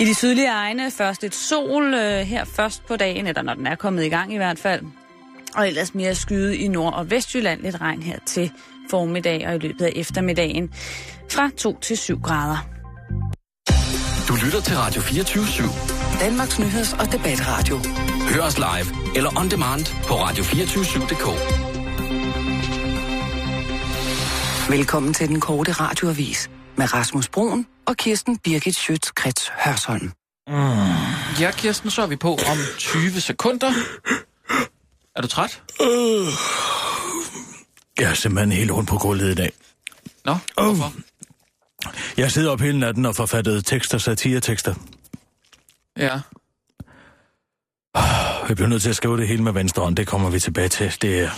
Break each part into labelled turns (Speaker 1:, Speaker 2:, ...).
Speaker 1: I de sydlige egne først lidt sol øh, her først på dagen, eller når den er kommet i gang i hvert fald. Og ellers mere skyde i Nord- og Vestjylland. Lidt regn her til formiddag og i løbet af eftermiddagen. Fra 2 til 7 grader.
Speaker 2: Du lytter til Radio 24-7.
Speaker 3: Danmarks nyheds- og debatradio.
Speaker 2: Hør os live eller on demand på radio247.dk.
Speaker 3: Velkommen til den korte radioavis med Rasmus Broen og Kirsten Birgit Schøtz-Krets Hørsholm. Mm.
Speaker 4: Ja, Kirsten, så er vi på om 20 sekunder. Er du træt?
Speaker 5: Uh, jeg er simpelthen helt rundt på gulvet i dag.
Speaker 4: Nå, hvorfor? Uh.
Speaker 5: Jeg sidder op hele natten og forfattede tekster, satiretekster.
Speaker 4: Ja.
Speaker 5: Jeg bliver nødt til at skrive det hele med venstre hånd. Det kommer vi tilbage til. Det, er...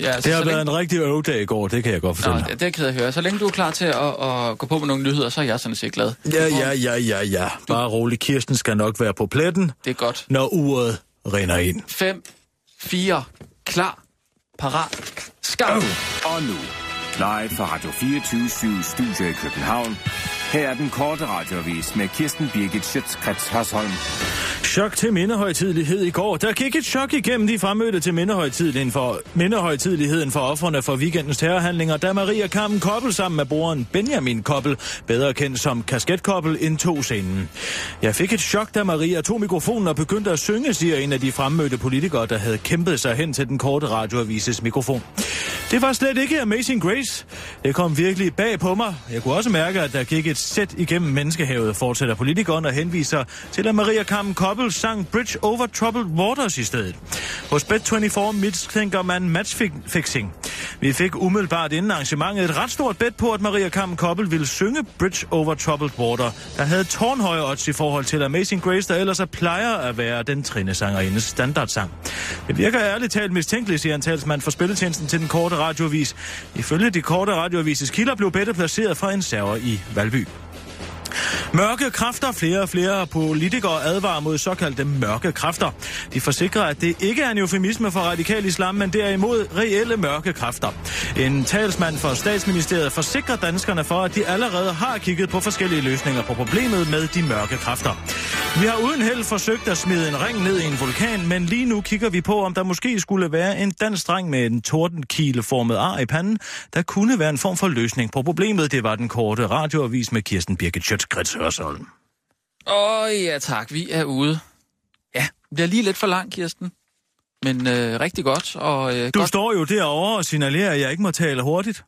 Speaker 5: ja, altså, det har været længe... en rigtig øvedag i går, det kan jeg godt fortælle Nå,
Speaker 4: dig. Det er ked af at høre. Så længe du er klar til at, at gå på med nogle nyheder, så er jeg sådan set glad.
Speaker 5: Ja, ja, ja, ja, ja. Bare rolig. Kirsten skal nok være på pletten.
Speaker 4: Det er godt.
Speaker 5: Når uret rinder ind.
Speaker 4: 5, 4, klar, parat, skarp.
Speaker 6: Oh. Og nu Live fra Radio 24 Studio i København. Her er den korte radiovis med Kirsten Birgit Schøtzgrads Hasholm.
Speaker 5: Chok til mindehøjtidlighed i går. Der gik et chok igennem de fremmødte til mindehøjtidligheden for, mindehøjtidligheden for offrene for weekendens terrorhandlinger, da Maria Carmen Koppel sammen med broren Benjamin Koppel, bedre kendt som Kasketkoppel, indtog scenen. Jeg fik et chok, da Maria tog mikrofonen og begyndte at synge, siger en af de fremmødte politikere, der havde kæmpet sig hen til den korte radioavises mikrofon. Det var slet ikke Amazing Grace, Paris. Det kom virkelig bag på mig. Jeg kunne også mærke, at der gik et sæt igennem menneskehavet, fortsætter politikeren og henviser til, at Maria Carmen Koppel sang Bridge Over Troubled Waters i stedet. Hos Bet24 mistænker man matchfixing. Vi fik umiddelbart inden arrangementet et ret stort bet på, at Maria Carmen Koppel ville synge Bridge Over Troubled Water, der havde tårnhøje odds i forhold til Amazing Grace, der ellers plejer at være den trinnesangerindes standardsang. Det virker ærligt talt mistænkeligt, siger en talsmand for spilletjenesten til den korte radiovis. Ifølge de korte radioavises kilder blev Bette placeret fra en server i Valby. Mørke kræfter. Flere og flere politikere advarer mod såkaldte mørke kræfter. De forsikrer, at det ikke er en eufemisme for radikal islam, men derimod reelle mørke kræfter. En talsmand for statsministeriet forsikrer danskerne for, at de allerede har kigget på forskellige løsninger på problemet med de mørke kræfter. Vi har uden held forsøgt at smide en ring ned i en vulkan, men lige nu kigger vi på, om der måske skulle være en dansk dreng med en tordenkile-formet ar i panden, der kunne være en form for løsning på problemet. Det var den korte radioavis med Kirsten Birgit Schøtz. Grits Hørsholm.
Speaker 4: Åh oh, ja tak, vi er ude. Ja, det bliver lige lidt for lang, Kirsten. Men øh, rigtig godt. Og, øh,
Speaker 5: du
Speaker 4: godt...
Speaker 5: står jo derovre og signalerer, at jeg ikke må tale hurtigt.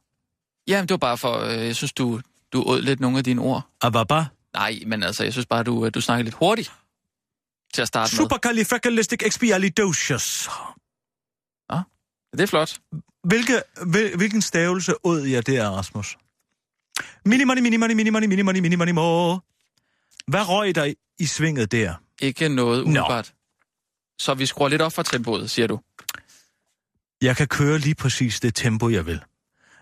Speaker 4: Jamen, det var bare for, øh, jeg synes, du, du åd lidt nogle af dine ord.
Speaker 5: Ababa?
Speaker 4: Nej, men altså, jeg synes bare, du, du snakker lidt hurtigt til at starte
Speaker 5: Supercalifragilisticexpialidocious.
Speaker 4: Ja, ah, det er flot.
Speaker 5: Hvilke, hvil, hvilken stavelse åd jeg der, Rasmus? Mini money, mini money, mini money, mini money, mini money, mo. Hvad røg der i svinget der?
Speaker 4: Ikke noget umiddelbart. No. Så vi skruer lidt op for tempoet, siger du?
Speaker 5: Jeg kan køre lige præcis det tempo, jeg vil.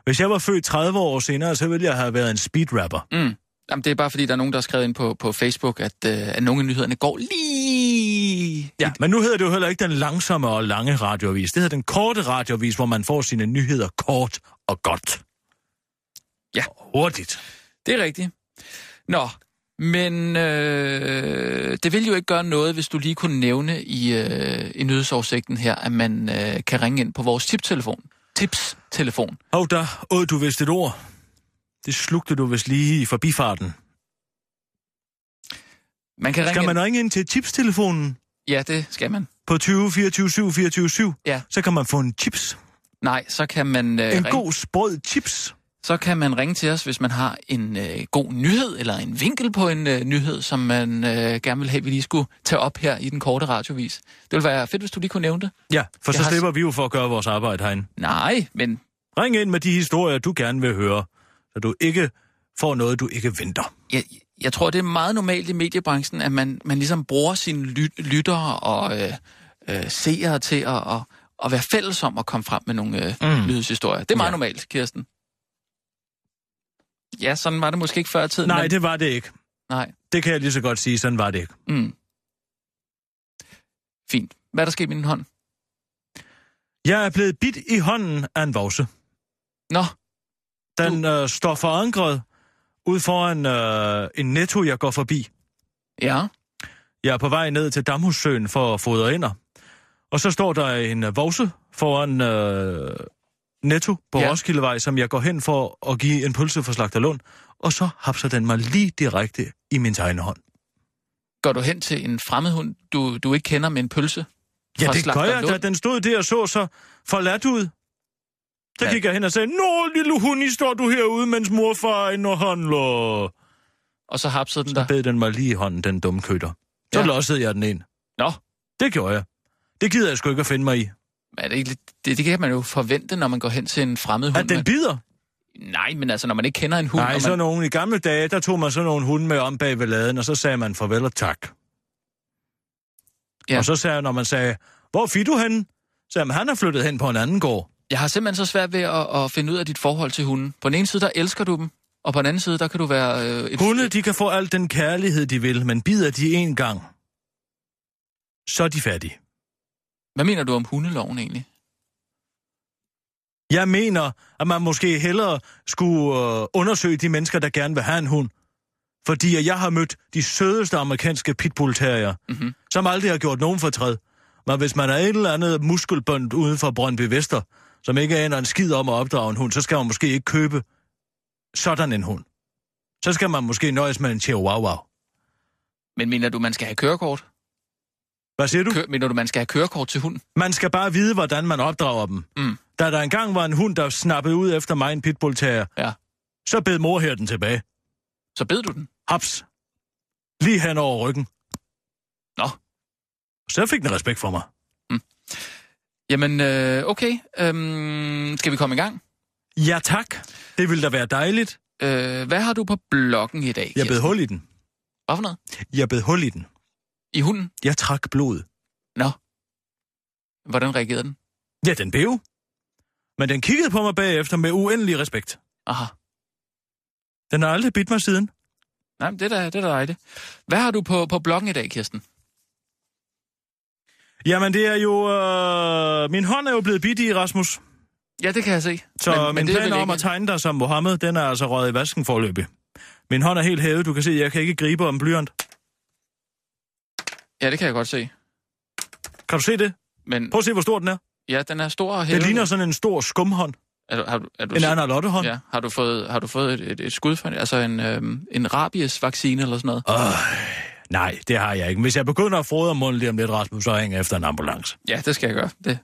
Speaker 5: Hvis jeg var født 30 år senere, så ville jeg have været en speedrapper.
Speaker 4: Mm. Jamen, det er bare fordi, der er nogen, der har skrevet ind på, på Facebook, at, øh, at nogle af nyhederne går lige...
Speaker 5: Ja, men nu hedder det jo heller ikke den langsomme og lange radiovis. Det hedder den korte radiovis, hvor man får sine nyheder kort og godt.
Speaker 4: Ja.
Speaker 5: Hurtigt.
Speaker 4: Det er rigtigt. Nå, men øh, det vil jo ikke gøre noget, hvis du lige kunne nævne i, øh, i nyhedsoversigten her, at man øh, kan ringe ind på vores tiptelefon. Tips-telefon.
Speaker 5: Hov, oh, der åd oh, du vist et ord. Det slugte du vist lige i forbifarten.
Speaker 4: Man kan ringe
Speaker 5: skal man ind... ringe ind til tipstelefonen?
Speaker 4: Ja, det skal man.
Speaker 5: På 20 24 7 24 7?
Speaker 4: Ja.
Speaker 5: Så kan man få en chips.
Speaker 4: Nej, så kan man... Øh,
Speaker 5: en ringe... god sprød chips
Speaker 4: så kan man ringe til os, hvis man har en øh, god nyhed eller en vinkel på en øh, nyhed, som man øh, gerne vil have, vi lige skulle tage op her i den korte radiovis. Det ville være fedt, hvis du lige kunne nævne det.
Speaker 5: Ja, for Jeg så har... slipper vi jo for at gøre vores arbejde herinde.
Speaker 4: Nej, men...
Speaker 5: Ring ind med de historier, du gerne vil høre, så du ikke får noget, du ikke venter.
Speaker 4: Jeg, jeg tror, det er meget normalt i mediebranchen, at man, man ligesom bruger sine lyt, lyttere og øh, øh, seere til at, og, at være fælles om at komme frem med nogle øh, mm. nyhedshistorier. Det er meget ja. normalt, Kirsten. Ja, sådan var det måske ikke før i tiden.
Speaker 5: Nej, men... det var det ikke.
Speaker 4: Nej.
Speaker 5: Det kan jeg lige så godt sige, sådan var det ikke.
Speaker 4: Mm. Fint. Hvad er der sket med din hånd?
Speaker 5: Jeg er blevet bidt i hånden af en vovse.
Speaker 4: Nå.
Speaker 5: Den du... øh, står forankret ud foran øh, en netto, jeg går forbi.
Speaker 4: Ja.
Speaker 5: Jeg er på vej ned til Damhussøen for at fodre ind. Og så står der en øh, vovse foran øh, Netto på
Speaker 4: Ja.
Speaker 5: ja. Roskildevej, som jeg går hen for at give en pølse for Slagterlund. Og så hapser den mig lige direkte i min tegne hånd.
Speaker 4: Går du hen til en fremmed hund, du, du ikke kender med en pølse?
Speaker 5: Ja,
Speaker 4: fra
Speaker 5: det gør jeg,
Speaker 4: Slagterlund?
Speaker 5: da den stod der og så så forladt ud. Så
Speaker 4: Ja.
Speaker 5: gik jeg hen og sagde, Nå, lille hund, står du herude, mens mor og far er inde og handler.
Speaker 4: Og så hapsede den
Speaker 5: Så
Speaker 4: der.
Speaker 5: bed den mig lige i hånden, den dumme køtter. Så
Speaker 4: Ja.
Speaker 5: ja. lossede jeg den ind.
Speaker 4: Nå,
Speaker 5: Det gjorde jeg. Det gider jeg sgu ikke at finde mig i.
Speaker 4: men er det, ikke lidt, det, det kan man jo forvente, når man går hen til en fremmed hund.
Speaker 5: At den bider?
Speaker 4: men, nej, men altså, når man ikke kender en hund.
Speaker 5: Nej,
Speaker 4: og
Speaker 5: så
Speaker 4: man,
Speaker 5: nogen i gamle dage, der tog man sådan nogle hunde med om bag ved laden, og så sagde man farvel og tak.
Speaker 4: Ja.
Speaker 5: Ja. Og så sagde jeg, når man sagde, hvor fik du henne? Så sagde man, han er flyttet hen på en anden gård.
Speaker 4: jeg har simpelthen så svært ved at, at finde ud af dit forhold til hunden. På den ene side, der elsker du dem, og på den anden side, der kan du være... Øh, et,
Speaker 5: Hunde, de kan få al den kærlighed, de vil, men bider de en gang, så er de fattige.
Speaker 4: Hvad mener du om hundeloven egentlig?
Speaker 5: Jeg mener, at man måske hellere skulle øh, undersøge de mennesker, der gerne vil have en hund. Fordi at jeg har mødt de sødeste amerikanske pitbull-terrier,
Speaker 4: Mhm.
Speaker 5: mm-hmm. som aldrig har gjort nogen fortræd. Men hvis man er et eller andet muskelbånd uden for Brøndby Vester, som ikke aner en skid om at opdrage en hund, så skal man måske ikke købe sådan en hund. Så skal man måske nøjes med en chihuahua.
Speaker 4: Men mener du, man skal have kørekort?
Speaker 5: Hvad siger du?
Speaker 4: Kø- mener du, man skal have kørekort til hunden?
Speaker 5: Man skal bare vide, hvordan man opdrager dem.
Speaker 4: Mm.
Speaker 5: Da der engang var en hund, der snappede ud efter mig en pitbull-terrier,
Speaker 4: Ja.
Speaker 5: så bed mor her den tilbage.
Speaker 4: Så bed du den.
Speaker 5: Haps. Lige hen over ryggen.
Speaker 4: Nå.
Speaker 5: Så fik den respekt for mig.
Speaker 4: Jamen, øh, okay. Øhm, skal vi komme i gang?
Speaker 5: Ja tak. Det ville da være dejligt.
Speaker 4: Øh, hvad har du på bloggen i dag?
Speaker 5: Jeg bed
Speaker 4: Kirsten?
Speaker 5: hul i den.
Speaker 4: Hvad for noget?
Speaker 5: Jeg bed hul i den.
Speaker 4: I hunden?
Speaker 5: Jeg trak blod.
Speaker 4: Nå. Hvordan reagerede den?
Speaker 5: Ja, den blev. Men den kiggede på mig bagefter med uendelig respekt.
Speaker 4: Aha.
Speaker 5: Den har aldrig bidt mig siden.
Speaker 4: Nej, men det er da, det er da dejligt. Hvad har du på, på bloggen i dag, Kirsten?
Speaker 5: Jamen, det er jo... Øh... Min hånd er jo blevet bidt i, Rasmus.
Speaker 4: Ja, det kan jeg se.
Speaker 5: Så men, min
Speaker 4: det er
Speaker 5: plan
Speaker 4: vel
Speaker 5: om
Speaker 4: ikke-
Speaker 5: at tegne dig som Mohammed, den er altså røget i vasken forløbig. Min hånd er helt hævet. Du kan se, jeg kan ikke gribe om blyant.
Speaker 4: Ja, det kan jeg godt se.
Speaker 5: Kan du se det?
Speaker 4: Men
Speaker 5: Prøv at se, hvor stor den er.
Speaker 4: ja, den er stor og hævet.
Speaker 5: Det ligner sådan en stor skumhånd.
Speaker 4: Er du, har, du- er du
Speaker 5: En
Speaker 4: se-
Speaker 5: Anna Lotte-hånd.
Speaker 4: Ja, har du fået, har du fået et, et, et skud for en, altså en, øhm, en rabiesvaccine eller sådan noget?
Speaker 5: Øh, nej, det har jeg ikke. Hvis jeg begynder at frode om munden lige om lidt, Rasmus, så ringer jeg efter en ambulance.
Speaker 4: Ja, det skal jeg gøre. Det.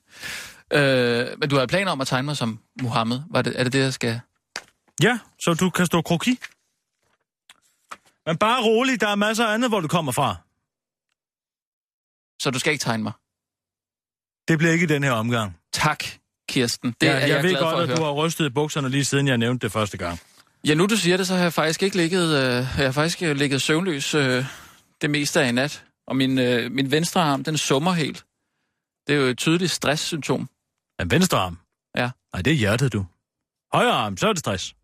Speaker 4: Øh, men du havde planer om at tegne mig som Mohammed. Var det, er det det, jeg skal...
Speaker 5: Ja, så du kan stå kroki. Men bare rolig, der er masser af andet, hvor du kommer fra.
Speaker 4: Så du skal ikke tegne mig?
Speaker 5: Det bliver ikke i den her omgang.
Speaker 4: Tak, Kirsten. Det
Speaker 5: ja,
Speaker 4: er jeg,
Speaker 5: jeg ved
Speaker 4: glad
Speaker 5: godt,
Speaker 4: for at,
Speaker 5: at du
Speaker 4: høre.
Speaker 5: har rystet i bukserne lige siden jeg nævnte det første gang.
Speaker 4: Ja, nu du siger det, så har jeg faktisk ikke ligget, øh, jeg har faktisk øh, ligget søvnløs øh, det meste af i nat. Og min, øh, min venstre arm, den summer helt. Det er jo et tydeligt stresssymptom.
Speaker 5: Men venstre arm?
Speaker 4: Ja.
Speaker 5: Nej, det er hjertet, du. Højre arm, så er det stress.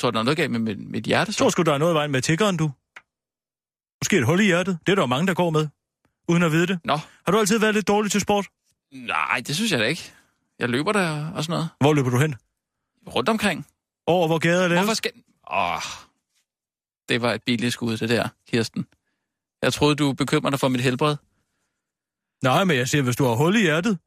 Speaker 4: Tror du, der er noget galt med mit, mit hjerte?
Speaker 5: Jeg tror sgu, der er noget i vejen med tiggeren, du. Måske et hul i hjertet. Det er der jo mange, der går med. Uden at vide det.
Speaker 4: Nå,
Speaker 5: Har du altid været lidt dårlig til sport?
Speaker 4: nej, det synes jeg da ikke. Jeg løber der og sådan noget.
Speaker 5: Hvor løber du hen?
Speaker 4: Rundt omkring.
Speaker 5: Over hvor gader det er?
Speaker 4: Hvorfor skal... Åh, det var et billigt skud, det der, Kirsten. Jeg troede, du bekymrede dig for mit helbred.
Speaker 5: Nej, men jeg siger, hvis du har hul i hjertet,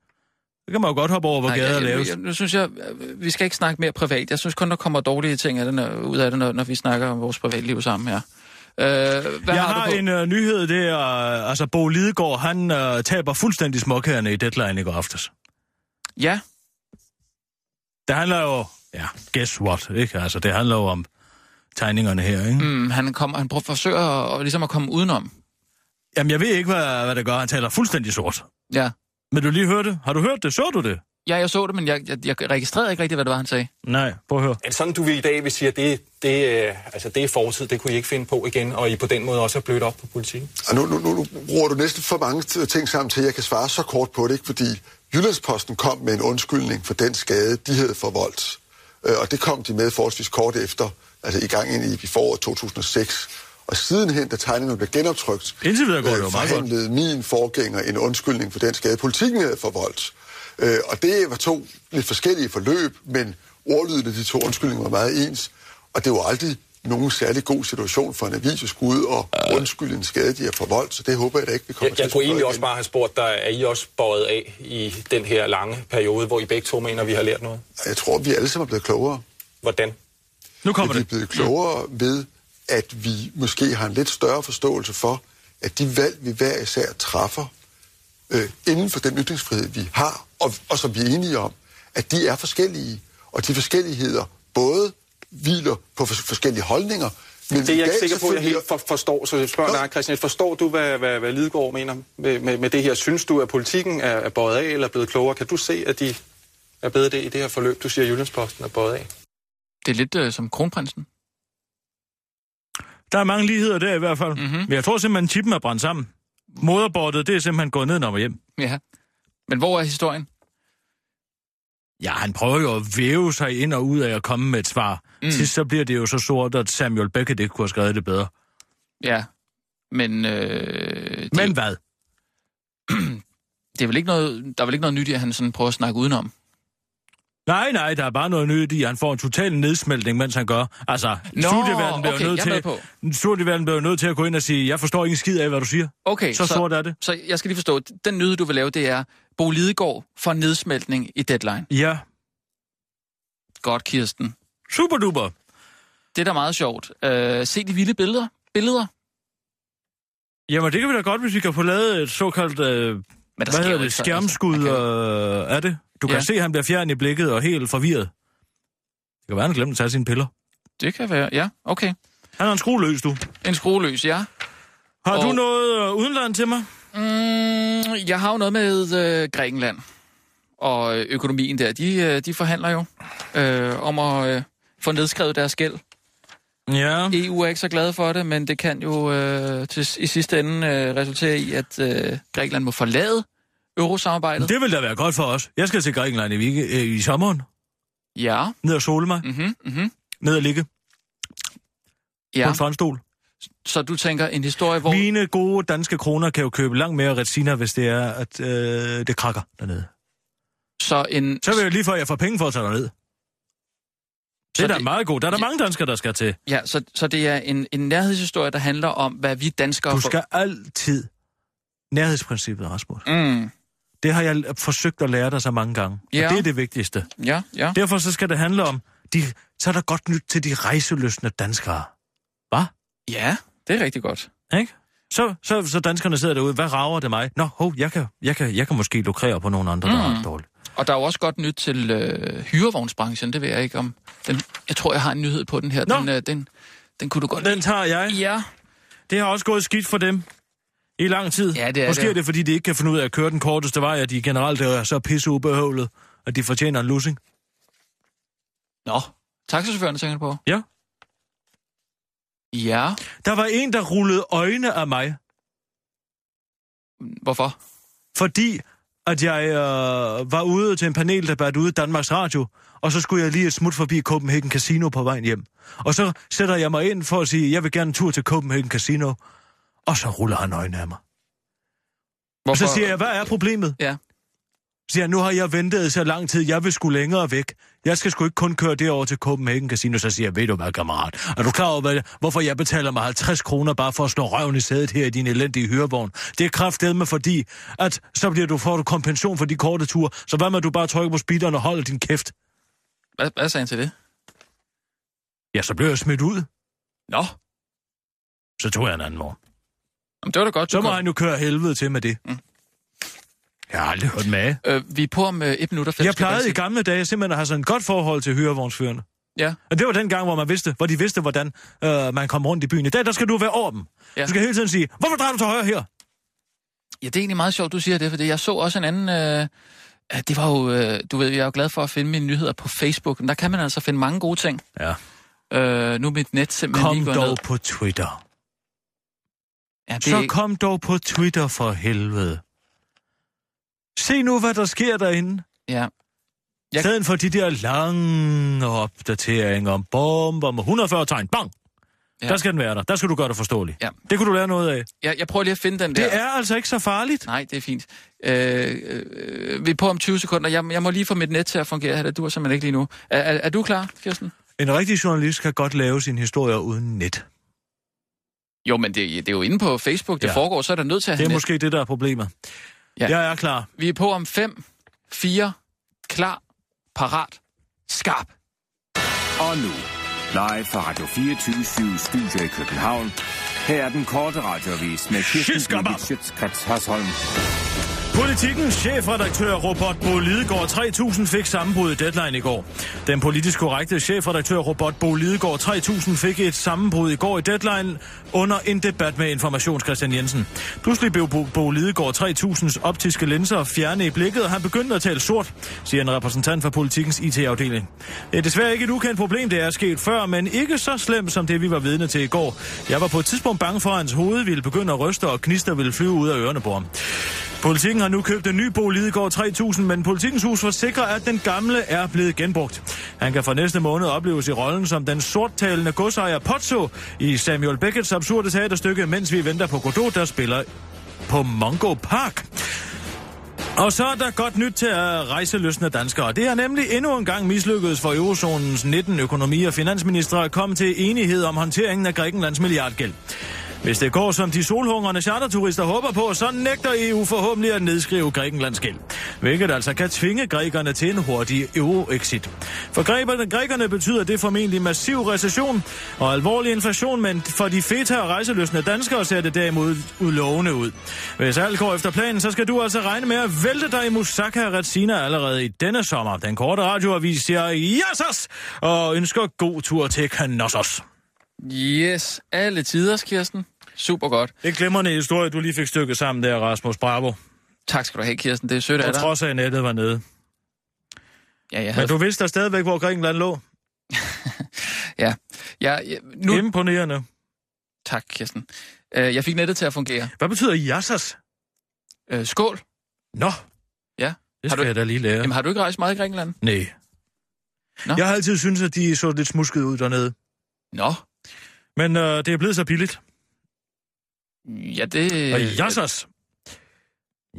Speaker 5: så kan man jo godt hoppe over, hvor
Speaker 4: Nej,
Speaker 5: gader
Speaker 4: jeg,
Speaker 5: laves.
Speaker 4: jeg, jeg, nu synes jeg, øh, vi skal ikke snakke mere privat. Jeg synes kun, der kommer dårlige ting af det, når, ud af det, når, når vi snakker om vores privatliv sammen her. Øh, hvad
Speaker 5: Jeg
Speaker 4: har,
Speaker 5: har
Speaker 4: du på?
Speaker 5: en uh, nyhed, det er, uh, altså Bo Lidegaard, han uh, taber fuldstændig småkagerne i deadline i går aftes.
Speaker 4: Ja,
Speaker 5: Det handler jo, ja, guess what, ikke? Altså, det handler jo om tegningerne her, ikke? Mm.
Speaker 4: mm, han, kommer, han prøver, forsøger at, og ligesom at komme udenom.
Speaker 5: Jamen, jeg ved ikke, hvad, hvad det gør, han taler fuldstændig sort.
Speaker 4: Ja.
Speaker 5: Men du lige hørte det? Har du hørt det? Så du det?
Speaker 4: ja, jeg så det, men jeg, jeg, jeg registrerede ikke rigtigt, hvad det var, han sagde.
Speaker 5: Nej, prøv at høre.
Speaker 7: At sådan du vil i dag vil sige, at det, det, øh, altså det er fortid, det kunne I ikke finde på igen, og I på den måde også er blødt op på politikken?
Speaker 8: Og nu, nu, nu, nu bruger du næsten for mange t- ting sammen til, at jeg kan svare så kort på det, ikke? fordi Jyllandsposten kom med en undskyldning for den skade, de havde forvoldt. Øh, Og det kom de med forholdsvis kort efter, altså i gang ind i, i foråret 2006. Og sidenhen, da tegningerne blev genoptrykt, øh,
Speaker 5: Indtil videre går det jo meget godt.
Speaker 8: forhandlede min forgænger en undskyldning for den skade, politikken havde forvoldt. Øh, Og det var to lidt forskellige forløb, men ordlyden af de to undskyldninger var meget ens. Og det var aldrig nogen særlig god situation for en avis at skulle ud og undskylde en skade, de har forvoldt, så det håber jeg da ikke, vi kommer
Speaker 7: Jeg,
Speaker 8: til
Speaker 7: jeg
Speaker 8: at
Speaker 7: kunne
Speaker 8: skulle
Speaker 7: egentlig
Speaker 8: gøre
Speaker 7: også
Speaker 8: igen.
Speaker 7: bare have spurgt dig, er I også bøjet af i den her lange periode, hvor I begge to mener, vi har lært noget?
Speaker 8: Jeg tror, vi alle sammen er blevet klogere.
Speaker 7: Hvordan?
Speaker 5: Nu kommer
Speaker 8: Men vi er
Speaker 5: det.
Speaker 8: blevet klogere ved, at vi måske har en lidt større forståelse for, at de valg, vi hver især træffer, øh, inden for den ytringsfrihed, vi har, og, og som vi er enige om, at de er forskellige, og de forskelligheder både hviler på fors- forskellige holdninger, men
Speaker 7: Det er
Speaker 8: vi
Speaker 7: jeg ikke sikker
Speaker 8: gav
Speaker 7: på, at jeg
Speaker 8: selvfølgelig-
Speaker 7: helt for, forstår. Så jeg spørger
Speaker 8: Nå.
Speaker 7: dig, Christian, forstår du, hvad, hvad, hvad Lidegaard mener med, med, med det her? Synes du, at politikken er, er bøjet af eller er blevet klogere? Kan du se, at de er blevet det i det her forløb? Du siger, at Jyllandsposten er bøjet af.
Speaker 4: Det er lidt øh, som kronprinsen.
Speaker 5: Der er mange ligheder der i hvert fald.
Speaker 4: Mhm.
Speaker 5: Mm-hmm. Men jeg tror simpelthen, chippen er brændt sammen. Moderbordet, det er simpelthen gået ned, når man hjem.
Speaker 4: Ja. Men hvor er historien?
Speaker 5: Ja, han prøver jo at væve sig ind og ud af at komme med et svar. Mm. Sidst så bliver det jo så sort, at Samuel Beckett ikke kunne have skrevet det bedre.
Speaker 4: Ja. Men, øh, det,
Speaker 5: Men
Speaker 4: Men...
Speaker 5: hvad?
Speaker 4: Det er vel ikke noget, der er vel ikke noget nyt i, at han sådan prøver at snakke udenom.
Speaker 5: Nej, nej, der er bare noget nyt i. Han får en total nedsmeltning, mens han gør. Altså, Nå, studieverdenen bliver
Speaker 4: okay,
Speaker 5: jo nødt
Speaker 4: jeg er med
Speaker 5: til...
Speaker 4: på.
Speaker 5: Studieverdenen bliver jo nødt til at gå ind og sige, jeg forstår ingen skid af, hvad du siger.
Speaker 4: Okay,
Speaker 5: Så sort er det.
Speaker 4: Så jeg skal lige forstå, den nyhed, du vil lave, det er, Bo Lidegaard for nedsmeltning i deadline.
Speaker 5: Ja,
Speaker 4: Godt, Kirsten.
Speaker 5: super duper.
Speaker 4: Det er da meget sjovt. Øh, se de vilde billeder. Billeder.
Speaker 5: Jamen, det kan vi da godt, hvis vi kan få lavet et såkaldt, øh, hvad
Speaker 4: Men der sker
Speaker 5: hedder
Speaker 4: jo
Speaker 5: det,
Speaker 4: ikke så-
Speaker 5: skærmskud
Speaker 4: altså, man kan-
Speaker 5: øh, af det. Du kan
Speaker 4: Ja.
Speaker 5: se, at han bliver fjern i blikket og helt forvirret. Det kan være, han har glemt at tage sine piller.
Speaker 4: Det kan være, ja. Okay.
Speaker 5: Han har en skrue løs, du.
Speaker 4: En skrueløs, ja.
Speaker 5: Har og... du
Speaker 4: Og-
Speaker 5: noget øh, udenland til mig?
Speaker 4: Mm, jeg har jo noget med øh, Grækenland og øh, økonomien der. De, øh, de forhandler jo øh, om at øh, få nedskrevet deres gæld.
Speaker 5: Ja.
Speaker 4: EU er ikke så glad for det, men det kan jo øh, til, i sidste ende øh, resultere i, at øh, Grækenland må forlade eurosamarbejdet. Det...
Speaker 5: Det vil da være godt for os. Jeg skal til Grækenland i, week- øh, i sommeren.
Speaker 4: Ja.
Speaker 5: Ned og sole mig.
Speaker 4: Mm-hmm, mm-hmm.
Speaker 5: Ned og ligge på
Speaker 4: ja.
Speaker 5: en strandstol.
Speaker 4: Så du tænker en historie, hvor...
Speaker 5: Hvor... Mine gode danske kroner kan jo købe langt mere resina, hvis det er, at øh, det krakker dernede.
Speaker 4: Så en...
Speaker 5: Så vil jeg lige for, at jeg får penge for at tage derned. Det
Speaker 4: Så
Speaker 5: er da
Speaker 4: det-
Speaker 5: meget godt. Der er der
Speaker 4: Ja.
Speaker 5: mange danskere, der skal til.
Speaker 4: Ja, så, så det er en, en nærhedshistorie, der handler om, hvad vi danskere...
Speaker 5: Du
Speaker 4: får-
Speaker 5: skal altid... Nærhedsprincippet, Rasmus.
Speaker 4: Mm,
Speaker 5: Det har jeg forsøgt at lære dig så mange gange. Ja.
Speaker 4: Ja.
Speaker 5: Og det er det vigtigste.
Speaker 4: ja, ja.
Speaker 5: Derfor så skal det handle om, de, så er der godt nyt til de rejseløsne danskere.
Speaker 4: Ja, det er rigtig godt.
Speaker 5: Ikke? Så, så, så danskerne sidder derude, hvad rager det mig? Nå, hov, jeg kan, jeg kan, jeg kan måske lukrere på nogle andre, der
Speaker 4: Mm.
Speaker 5: har det dårligt.
Speaker 4: Og der er jo også godt nyt til øh, hyrevognsbranchen, det ved jeg ikke om. Den, jeg tror, jeg har en nyhed på den her.
Speaker 5: Nå.
Speaker 4: Den, øh, den, den kunne du godt
Speaker 5: Den tager jeg.
Speaker 4: lide. Ja,
Speaker 5: Det har også gået skidt for dem. I lang tid.
Speaker 4: Ja, det er
Speaker 5: Måske
Speaker 4: det.
Speaker 5: er det, fordi de ikke kan finde ud af at køre den korteste vej, og de generelt er så pisseubehøvlet, at de fortjener en lussing.
Speaker 4: nå. Taxachaufførerne tænker du på?
Speaker 5: Ja.
Speaker 4: Ja,
Speaker 5: Der var en, der rullede øjne af mig,
Speaker 4: hvorfor?
Speaker 5: fordi at jeg øh, var ude til en paneldebat ude i Danmarks Radio, og så skulle jeg lige et smut forbi Copenhagen Casino på vejen hjem. Og så sætter jeg mig ind for at sige, jeg vil gerne en tur til Copenhagen Casino, og så ruller han øjnene af mig. Og
Speaker 4: hvorfor?
Speaker 5: så siger jeg, hvad er problemet?
Speaker 4: Ja.
Speaker 5: Så siger jeg, nu har jeg ventet så lang tid, jeg vil skulle længere væk. Jeg skal sgu ikke kun køre derover til Copenhagen Casino, så siger jeg, ved du hvad, kammerat? Er du klar over, hvad, hvorfor jeg betaler mig 50 kroner bare for at slå røven i sædet her i din elendige hyrevogn? Det er kraftedme fordi, at så bliver du, får du kompensation for de korte ture, så hvad med, at du bare trykker på speederen og holder din kæft?
Speaker 4: Hvad, hvad sagde han til det?
Speaker 5: Ja, så blev jeg smidt ud.
Speaker 4: Nå,
Speaker 5: Så tog jeg en anden vogn.
Speaker 4: Jamen, det var da godt, du
Speaker 5: Så må
Speaker 4: kom.
Speaker 5: han jo køre helvede til med det. Mm. Jeg har aldrig hørt med. af.
Speaker 4: Øh, vi er på om øh, et minut og fem
Speaker 5: Jeg
Speaker 4: skal
Speaker 5: plejede i
Speaker 4: sige.
Speaker 5: gamle dage simpelthen at have sådan et godt forhold til hyrevognsførende.
Speaker 4: Ja,
Speaker 5: Og det var den gang, hvor man vidste, hvor de vidste, hvordan øh, man kom rundt i byen. I dag, der skal du være over dem. Ja.
Speaker 4: Ja.
Speaker 5: Du skal hele tiden sige, hvorfor drejer du til højre her?
Speaker 4: Ja, det er egentlig meget sjovt, du siger det, fordi jeg så også en anden... Øh, øh, det var jo... Øh, du ved, jeg er jo glad for at finde mine nyheder på Facebook, men der kan man altså finde mange gode ting.
Speaker 5: Ja.
Speaker 4: Øh, nu er mit net simpelthen
Speaker 5: Kom
Speaker 4: lige gået ned.
Speaker 5: dog på Twitter.
Speaker 4: Ja, det,
Speaker 5: Så kom dog på Twitter for helvede. Se nu, hvad der sker derinde.
Speaker 4: Ja.
Speaker 5: Jeg...
Speaker 4: Jeg-
Speaker 5: Stedet for de der lange opdateringer om bomber med 140 tegn. Bang! Ja.
Speaker 4: Ja.
Speaker 5: Der skal den være der. Der skal du gøre dig forståelig.
Speaker 4: Ja.
Speaker 5: Det kunne du lære noget af.
Speaker 4: Jeg, jeg prøver lige at finde den der.
Speaker 5: Det er altså ikke så farligt.
Speaker 4: Nej, det er fint. Øh, øh, vi er på om 20 sekunder. Jeg, jeg må lige få mit net til at fungere her. Det dur simpelthen ikke lige nu. Er, er, er du klar, Kirsten?
Speaker 5: En rigtig journalist kan godt lave sine historier uden net.
Speaker 4: Jo, men det, det er jo inde på Facebook, det
Speaker 5: Ja.
Speaker 4: ja. foregår, så er der nødt til at have
Speaker 5: Det er
Speaker 4: net.
Speaker 5: måske det, der er problemet.
Speaker 4: Ja.
Speaker 5: Jeg er klar.
Speaker 4: Vi er på om 5, 4, klar, parat, skarp.
Speaker 6: Og nu, live fra Radio 24 Studio i København. Her er den korte radiovis med Kirsten
Speaker 5: Skyskabab.
Speaker 6: Birgit Schøtzgrads Hasholm.
Speaker 5: Politikens chefredaktør Robert Bo Lidegaard 3000 fik sammenbrud i deadline i går. Den politisk korrekte chefredaktør Robert Bo Lidegaard 3000 fik et sammenbrud i går i deadline under en debat med Informations Christian Jensen. Pludselig blev Bo, Bo Lidegaard 3000's optiske linser fjerne i blikket, og han begyndte at tale sort, siger en repræsentant for politikens IT-afdeling. Det er desværre ikke et ukendt problem, det er sket før, men ikke så slemt som det, vi var vidne til i går. Jeg var på et tidspunkt bange for, at hans hoved ville begynde at ryste, og knister ville flyve ud af ørerne på ham. Politikken har nu købt en ny Bo Lidegaard 3000, men Politikens Hus forsikrer, at den gamle er blevet genbrugt. Han kan fra næste måned opleves i rollen som den sorttalende godsejer Pozzo i Samuel Beckett's absurde teaterstykke, mens vi venter på Godot, der spiller på Mongo Park. Og så er der godt nyt til at rejseløsne danskere. Det er nemlig endnu en gang mislykkedes for eurozonens 19 økonomi- og finansministre at komme til enighed om håndteringen af Grækenlands milliardgæld. Hvis det går, som de solhungrende charterturister håber på, så nægter EU forhåbentlig at nedskrive Grækenlands gæld. Hvilket altså kan tvinge grækerne til en hurtig euro-exit. For grækerne, grækerne betyder det formentlig massiv recession og alvorlig inflation, men for de feta og rejseløsne danskere ser det derimod udlovende ud. Hvis alt går efter planen, så skal du altså regne med at vælte dig i Moussaka og Retsina allerede i denne sommer. Den korte radioavis siger jassas og ønsker god tur til Knossos.
Speaker 4: Yes, alle tiders, Kirsten. Super godt.
Speaker 5: Det er glemrende historie, du lige fik stykket sammen der, Rasmus Bravo.
Speaker 4: Tak skal du have, Kirsten. Det er sødt af
Speaker 5: På
Speaker 4: dig.
Speaker 5: trods af, at nettet var nede.
Speaker 4: Ja, jeg
Speaker 5: Men
Speaker 4: havde...
Speaker 5: du vidste der stadigvæk, hvor Grækenland lå.
Speaker 4: Ja. Jeg, jeg,
Speaker 5: Nu...
Speaker 4: nu...
Speaker 5: Imponerende.
Speaker 4: Tak, Kirsten. Øh, Jeg fik nettet til at fungere.
Speaker 5: Hvad betyder jassas?
Speaker 4: Øh, Skål.
Speaker 5: Nå.
Speaker 4: Ja.
Speaker 5: Det
Speaker 4: Har
Speaker 5: skal
Speaker 4: du-
Speaker 5: du... jeg da lige lære.
Speaker 4: Jamen, har du ikke rejst meget i Grækenland?
Speaker 5: Nej.
Speaker 4: Nå.
Speaker 5: Jeg har altid syntes, at de så lidt smuskede ud dernede.
Speaker 4: Nå.
Speaker 5: Men øh, det er blevet så billigt.
Speaker 4: Ja, det...
Speaker 5: Og jassas.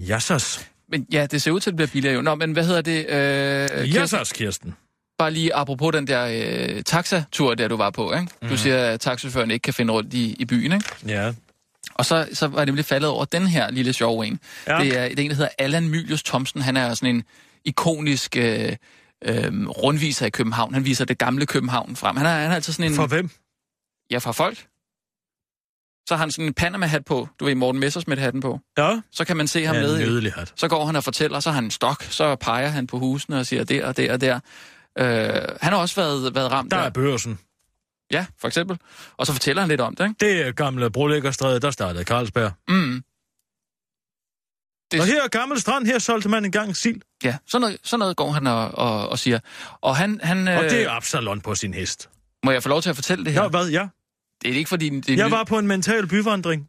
Speaker 5: Jassas.
Speaker 4: Men ja, det ser ud til, at det bliver billigere jo. Nå, men hvad hedder det? Øh, Kirsten,
Speaker 5: Jassas, Kirsten.
Speaker 4: bare lige apropos den der øh, taxatur, der du var på, ikke? Du siger, at taxachaufføren ikke kan finde rundt i, i byen, ikke?
Speaker 5: Ja.
Speaker 4: Og så, så var jeg nemlig faldet over den her lille sjove en.
Speaker 5: Ja.
Speaker 4: Ja. Det, er, det er en, der hedder Allan Mylius Thomsen. Han er sådan en ikonisk øh, øh, rundviser i København. Han viser det gamle København frem. Han er, han er altså sådan en...
Speaker 5: For hvem?
Speaker 4: Ja, fra folk. Så har han sådan en Panama-hat på. Du ved, Morten Messersmith-hatten på.
Speaker 5: Ja.
Speaker 4: Så kan man se ham
Speaker 5: Ja,
Speaker 4: nede i...
Speaker 5: nydelig hat.
Speaker 4: Så går han og fortæller, så har han en stok, så peger han på husene og siger der og der og der. Øh, han har også været, været ramt
Speaker 5: Der er børsen.
Speaker 4: Ja, for eksempel. Og så fortæller han lidt om det, ikke?
Speaker 5: Det er gamle brolæggerstræde, der startede Carlsberg.
Speaker 4: Mm. Det-
Speaker 5: Og her er gammel strand, her solgte man engang sild.
Speaker 4: Ja, sådan noget, sådan noget går han og, og, og siger. Og han... han øh,
Speaker 5: Og det er Absalon på sin hest.
Speaker 4: Må jeg få lov til at fortælle det her?
Speaker 5: Ja, hvad? Ja.
Speaker 4: Det er ikke fordi... Det er
Speaker 5: Jeg
Speaker 4: nyt.
Speaker 5: var på en mental byvandring.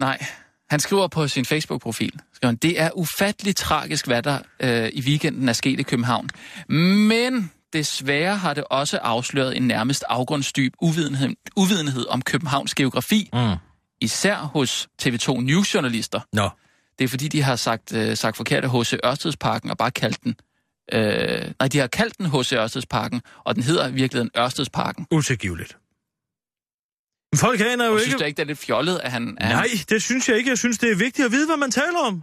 Speaker 4: Nej. Han skriver på sin Facebook-profil, skriver han, det er ufatteligt tragisk, hvad der øh, i weekenden er sket i København. Men desværre har det også afsløret en nærmest afgrundsdyb uvidenhed, uvidenhed om Københavns geografi,
Speaker 5: Mm.
Speaker 4: især hos TV2 News-journalister.
Speaker 5: Nå.
Speaker 4: Det er fordi, de har sagt, øh, sagt forkert af H.C. Ørstedsparken og bare kaldt den. Øh, nej, de har kaldt den H.C. Ørstedsparken, og den hedder i virkeligheden Ørstedsparken.
Speaker 5: Utilgiveligt. Men Folk aner jo
Speaker 4: Jeg
Speaker 5: ikke...
Speaker 4: synes da ikke, det er lidt fjollet, at han... at han-
Speaker 5: Nej, det synes jeg ikke. Jeg synes, det er vigtigt at vide, hvad man taler om.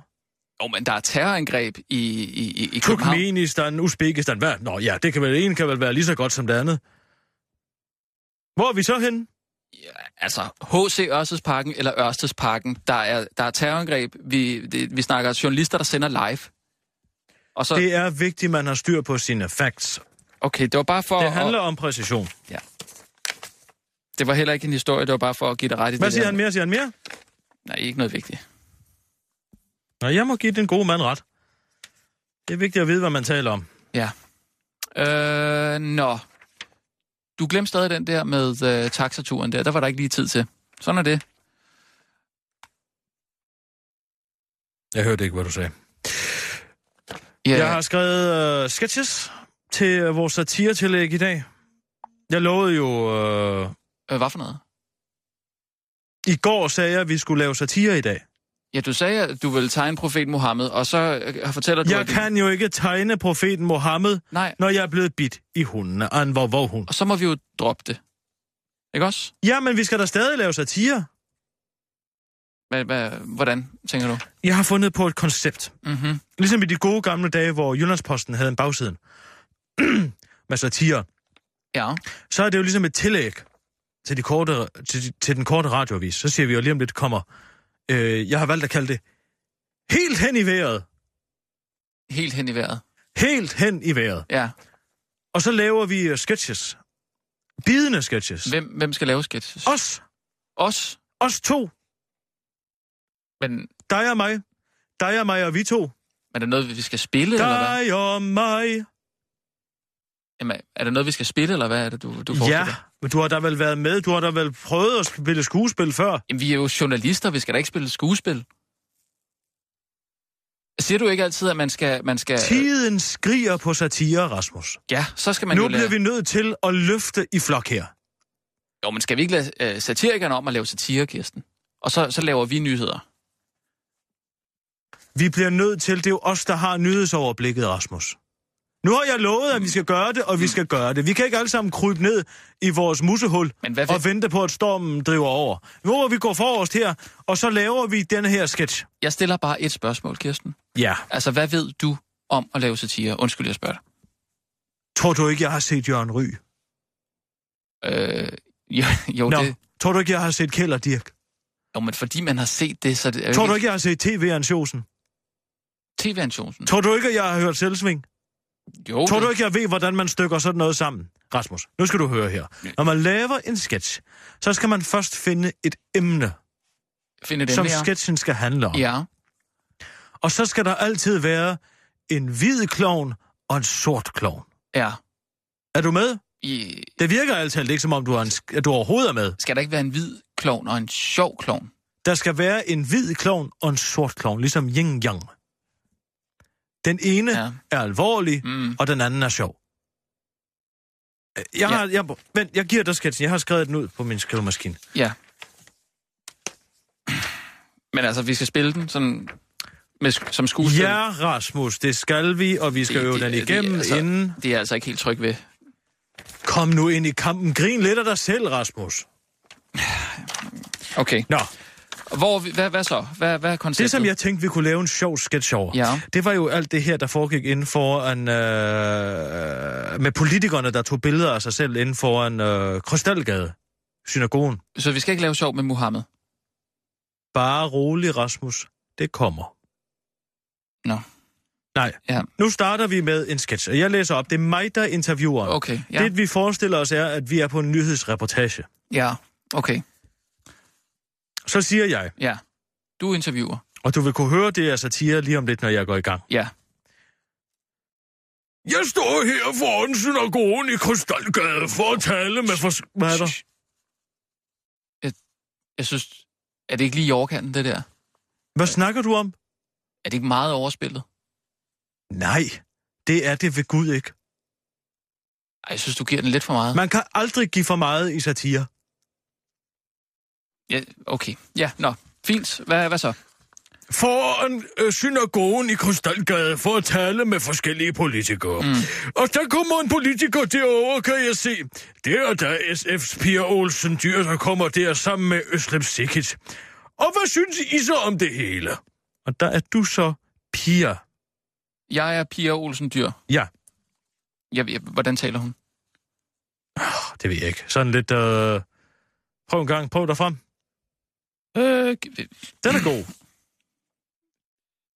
Speaker 4: Jo, men der er terrorangreb i, i, i, i København.
Speaker 5: Turkmenistan, Uzbekistan, hvad? Nå ja, det kan vel, en kan vel være lige så godt som det andet. Hvor er vi så henne?
Speaker 4: altså H.C. Ørstedsparken eller Ørstedsparken, der er, der er terrorangreb. Vi, det, vi snakker journalister, der sender live. Og så,
Speaker 5: Det er vigtigt, man har styr på sine facts.
Speaker 4: okay, det var bare for...
Speaker 5: Det handler
Speaker 4: at,
Speaker 5: om præcision.
Speaker 4: det var heller ikke en historie, det var bare for at give dig ret i
Speaker 5: Hvad
Speaker 4: det
Speaker 5: siger
Speaker 4: der.
Speaker 5: han mere? Siger han mere?
Speaker 4: Nej, ikke noget vigtigt.
Speaker 5: Nå, jeg må give den gode mand ret. Det er vigtigt at vide, hvad man taler om.
Speaker 4: Ja. Øh, nå. Du glemte stadig den der med øh, taxaturen der. Der var der ikke lige tid til. Sådan er det.
Speaker 5: Jeg hørte ikke, hvad du sagde.
Speaker 4: Ja,
Speaker 5: Jeg har skrevet øh, sketches til øh, vores satiretillæg i dag. Jeg lovede jo... Øh,
Speaker 4: øh, hvad for noget?
Speaker 5: I går sagde jeg, at vi skulle lave satire i dag.
Speaker 4: Ja, du sagde, at du ville tegne profet Mohammed, og så øh, fortæller du...
Speaker 5: Jeg
Speaker 4: at du-
Speaker 5: kan jo ikke tegne profeten Mohammed,
Speaker 4: Nej.
Speaker 5: når jeg er blevet bidt i hundene af en vorvorhund.
Speaker 4: Og så må vi jo droppe det. Ikke også?
Speaker 5: Jamen, vi skal da stadig lave satire.
Speaker 4: Hva, hva, hvordan, tænker du?
Speaker 5: Jeg har fundet på et koncept.
Speaker 4: Mm-hmm.
Speaker 5: Ligesom i de gode gamle dage, hvor Jyllandsposten havde en bagsiden med satire.
Speaker 4: Ja.
Speaker 5: Så er det jo ligesom et tillæg til, de korte, til, de- til den korte radioavis. Så siger vi jo lige om lidt kommer. Øh, jeg har valgt at kalde det helt hen i vejret.
Speaker 4: Helt hen i vejret.
Speaker 5: Helt hen i vejret.
Speaker 4: Ja.
Speaker 5: Og så laver vi øh, sketches. Bidende sketches.
Speaker 4: Hvem, hvem skal lave sketches?
Speaker 5: Os.
Speaker 4: Os.
Speaker 5: Os to.
Speaker 4: Men,
Speaker 5: Dig og mig. Dig og mig og vi to.
Speaker 4: men er der noget, vi skal spille, eller hvad?
Speaker 5: Dig og mig.
Speaker 4: Jamen, er der noget, vi skal spille, eller hvad er det, du, du forestiller
Speaker 5: Ja,
Speaker 4: dig?
Speaker 5: men du har da vel været med. Du har da vel prøvet at spille skuespil før.
Speaker 4: Jamen, vi er jo journalister, vi skal da ikke spille skuespil. Siger du ikke altid, at man skal... Man skal
Speaker 5: Tiden skriger på satire, Rasmus.
Speaker 4: ja, så skal man øh,
Speaker 5: Man nu
Speaker 4: jo
Speaker 5: bliver
Speaker 4: lade...
Speaker 5: vi nødt til at løfte i flok her.
Speaker 4: Jo, men skal vi ikke lade øh, satirikerne om at lave satire, Kirsten? Og så, så laver vi nyheder.
Speaker 5: Vi bliver nødt til, det er jo os, der har nyhedsoverblikket, Rasmus. Nu har jeg lovet, at vi skal gøre det, og vi skal gøre det. Vi kan ikke alle sammen krybe ned i vores musehul
Speaker 4: Men hvad
Speaker 5: og
Speaker 4: vil...
Speaker 5: vente på, at stormen driver over. Nu må vi gå forrest her, og så laver vi den her sketch.
Speaker 4: Jeg stiller bare et spørgsmål, Kirsten.
Speaker 5: Ja.
Speaker 4: Altså, hvad ved du om at lave satire? Undskyld, jeg spørger dig.
Speaker 5: Tror du ikke, jeg har set Jørgen Ry?
Speaker 4: Øh, jo, jo,
Speaker 5: Nå.
Speaker 4: det,
Speaker 5: Tror du ikke, jeg har set Kjeld og Dirk?
Speaker 4: jo, men fordi man har set det, så Øh, det er jo
Speaker 5: Tror du ikke, jeg har set TV-Ernst Josen?
Speaker 4: TV-antionen.
Speaker 5: Tror du ikke, at jeg har hørt selvsving?
Speaker 4: Jo,
Speaker 5: Tror
Speaker 4: Oh, det-
Speaker 5: du ikke, jeg ved, hvordan man stykker sådan noget sammen? Rasmus, nu skal du høre her. Når man laver en sketch, så skal man først finde et emne,
Speaker 4: finder den
Speaker 5: som
Speaker 4: der.
Speaker 5: sketchen skal handle om.
Speaker 4: Ja,
Speaker 5: Og så skal der altid være en hvid klovn og en sort klovn.
Speaker 4: ja.
Speaker 5: Er du med?
Speaker 4: I,
Speaker 5: Det virker altid ikke, som om du, er en, sk- at du overhovedet er med.
Speaker 4: skal der ikke være en hvid klovn og en sjov klovn?
Speaker 5: Der skal være en hvid klovn og en sort klovn, ligesom yin-yang. Den ene
Speaker 4: Ja.
Speaker 5: ja. er alvorlig,
Speaker 4: Mm.
Speaker 5: og den anden er sjov. Jeg, har, jeg, vent, jeg giver dig sketchen. Jeg har skrevet den ud på min skrivemaskine.
Speaker 4: Ja. Men altså, vi skal spille den sådan med, sk- som skuespil.
Speaker 5: Ja, Rasmus, det skal vi, og vi skal det, øve den igennem
Speaker 4: det, er altså,
Speaker 5: altså... inden.
Speaker 4: Det er jeg altså ikke helt tryg ved.
Speaker 5: Kom nu ind i kampen. Grin lidt af dig selv, Rasmus.
Speaker 4: Okay.
Speaker 5: Nå,
Speaker 4: Hvor, er vi- hvad, hvad så? Hvad, hvad er konceptet?
Speaker 5: det som jeg tænkte, vi kunne lave en sjov sketch over,
Speaker 4: Ja.
Speaker 5: det var jo alt det her, der foregik inden foran... Øh, med politikerne, der tog billeder af sig selv inden foran øh, Krystalgade, synagogen.
Speaker 4: Så vi skal ikke lave sjov med Mohammed?
Speaker 5: Bare rolig, Rasmus. Det kommer.
Speaker 4: Nå.
Speaker 5: Nej.
Speaker 4: Ja.
Speaker 5: Nu starter vi med en sketch, og jeg læser op. Det er mig, der interviewer.
Speaker 4: Okay, ja.
Speaker 5: Det, vi forestiller os, er, at vi er på en nyhedsreportage.
Speaker 4: Ja, okay.
Speaker 5: Så siger jeg,
Speaker 4: Ja. Du interviewer.
Speaker 5: og du vil kunne høre det af satire lige om lidt, når jeg går i gang.
Speaker 4: Ja.
Speaker 5: Jeg står her foran synagogen i Krystalgade for at tale med... Fors- Hvad er der?
Speaker 4: Shh. Jeg, jeg synes... Er det ikke lige i overkanten, det der?
Speaker 5: Hvad snakker du om?
Speaker 4: Er det ikke meget overspillet?
Speaker 5: Nej, det er det ved Gud ikke.
Speaker 4: Ej, jeg synes, du giver den lidt for meget.
Speaker 5: Man kan aldrig give for meget i satire.
Speaker 4: Ja, okay. Ja, nå. Fint. Hvad, hvad så?
Speaker 5: foran øh, synagogen i Krystalgade for at tale med forskellige politikere. Mm. Og der kommer en politiker derover, kan jeg se. Det er der SF's Pia Olsen Dyr, der kommer der sammen med Øslem Sikic. Og hvad synes I så om det hele? Og der er du så Pia.
Speaker 4: Jeg er Pia Olsen Dyr.
Speaker 5: Ja,
Speaker 4: Jeg, jeg, hvordan taler hun?
Speaker 5: det ved jeg ikke. Sådan lidt... Øh... Prøv en gang, prøv dig frem.
Speaker 4: Øh, g-
Speaker 5: Den er god.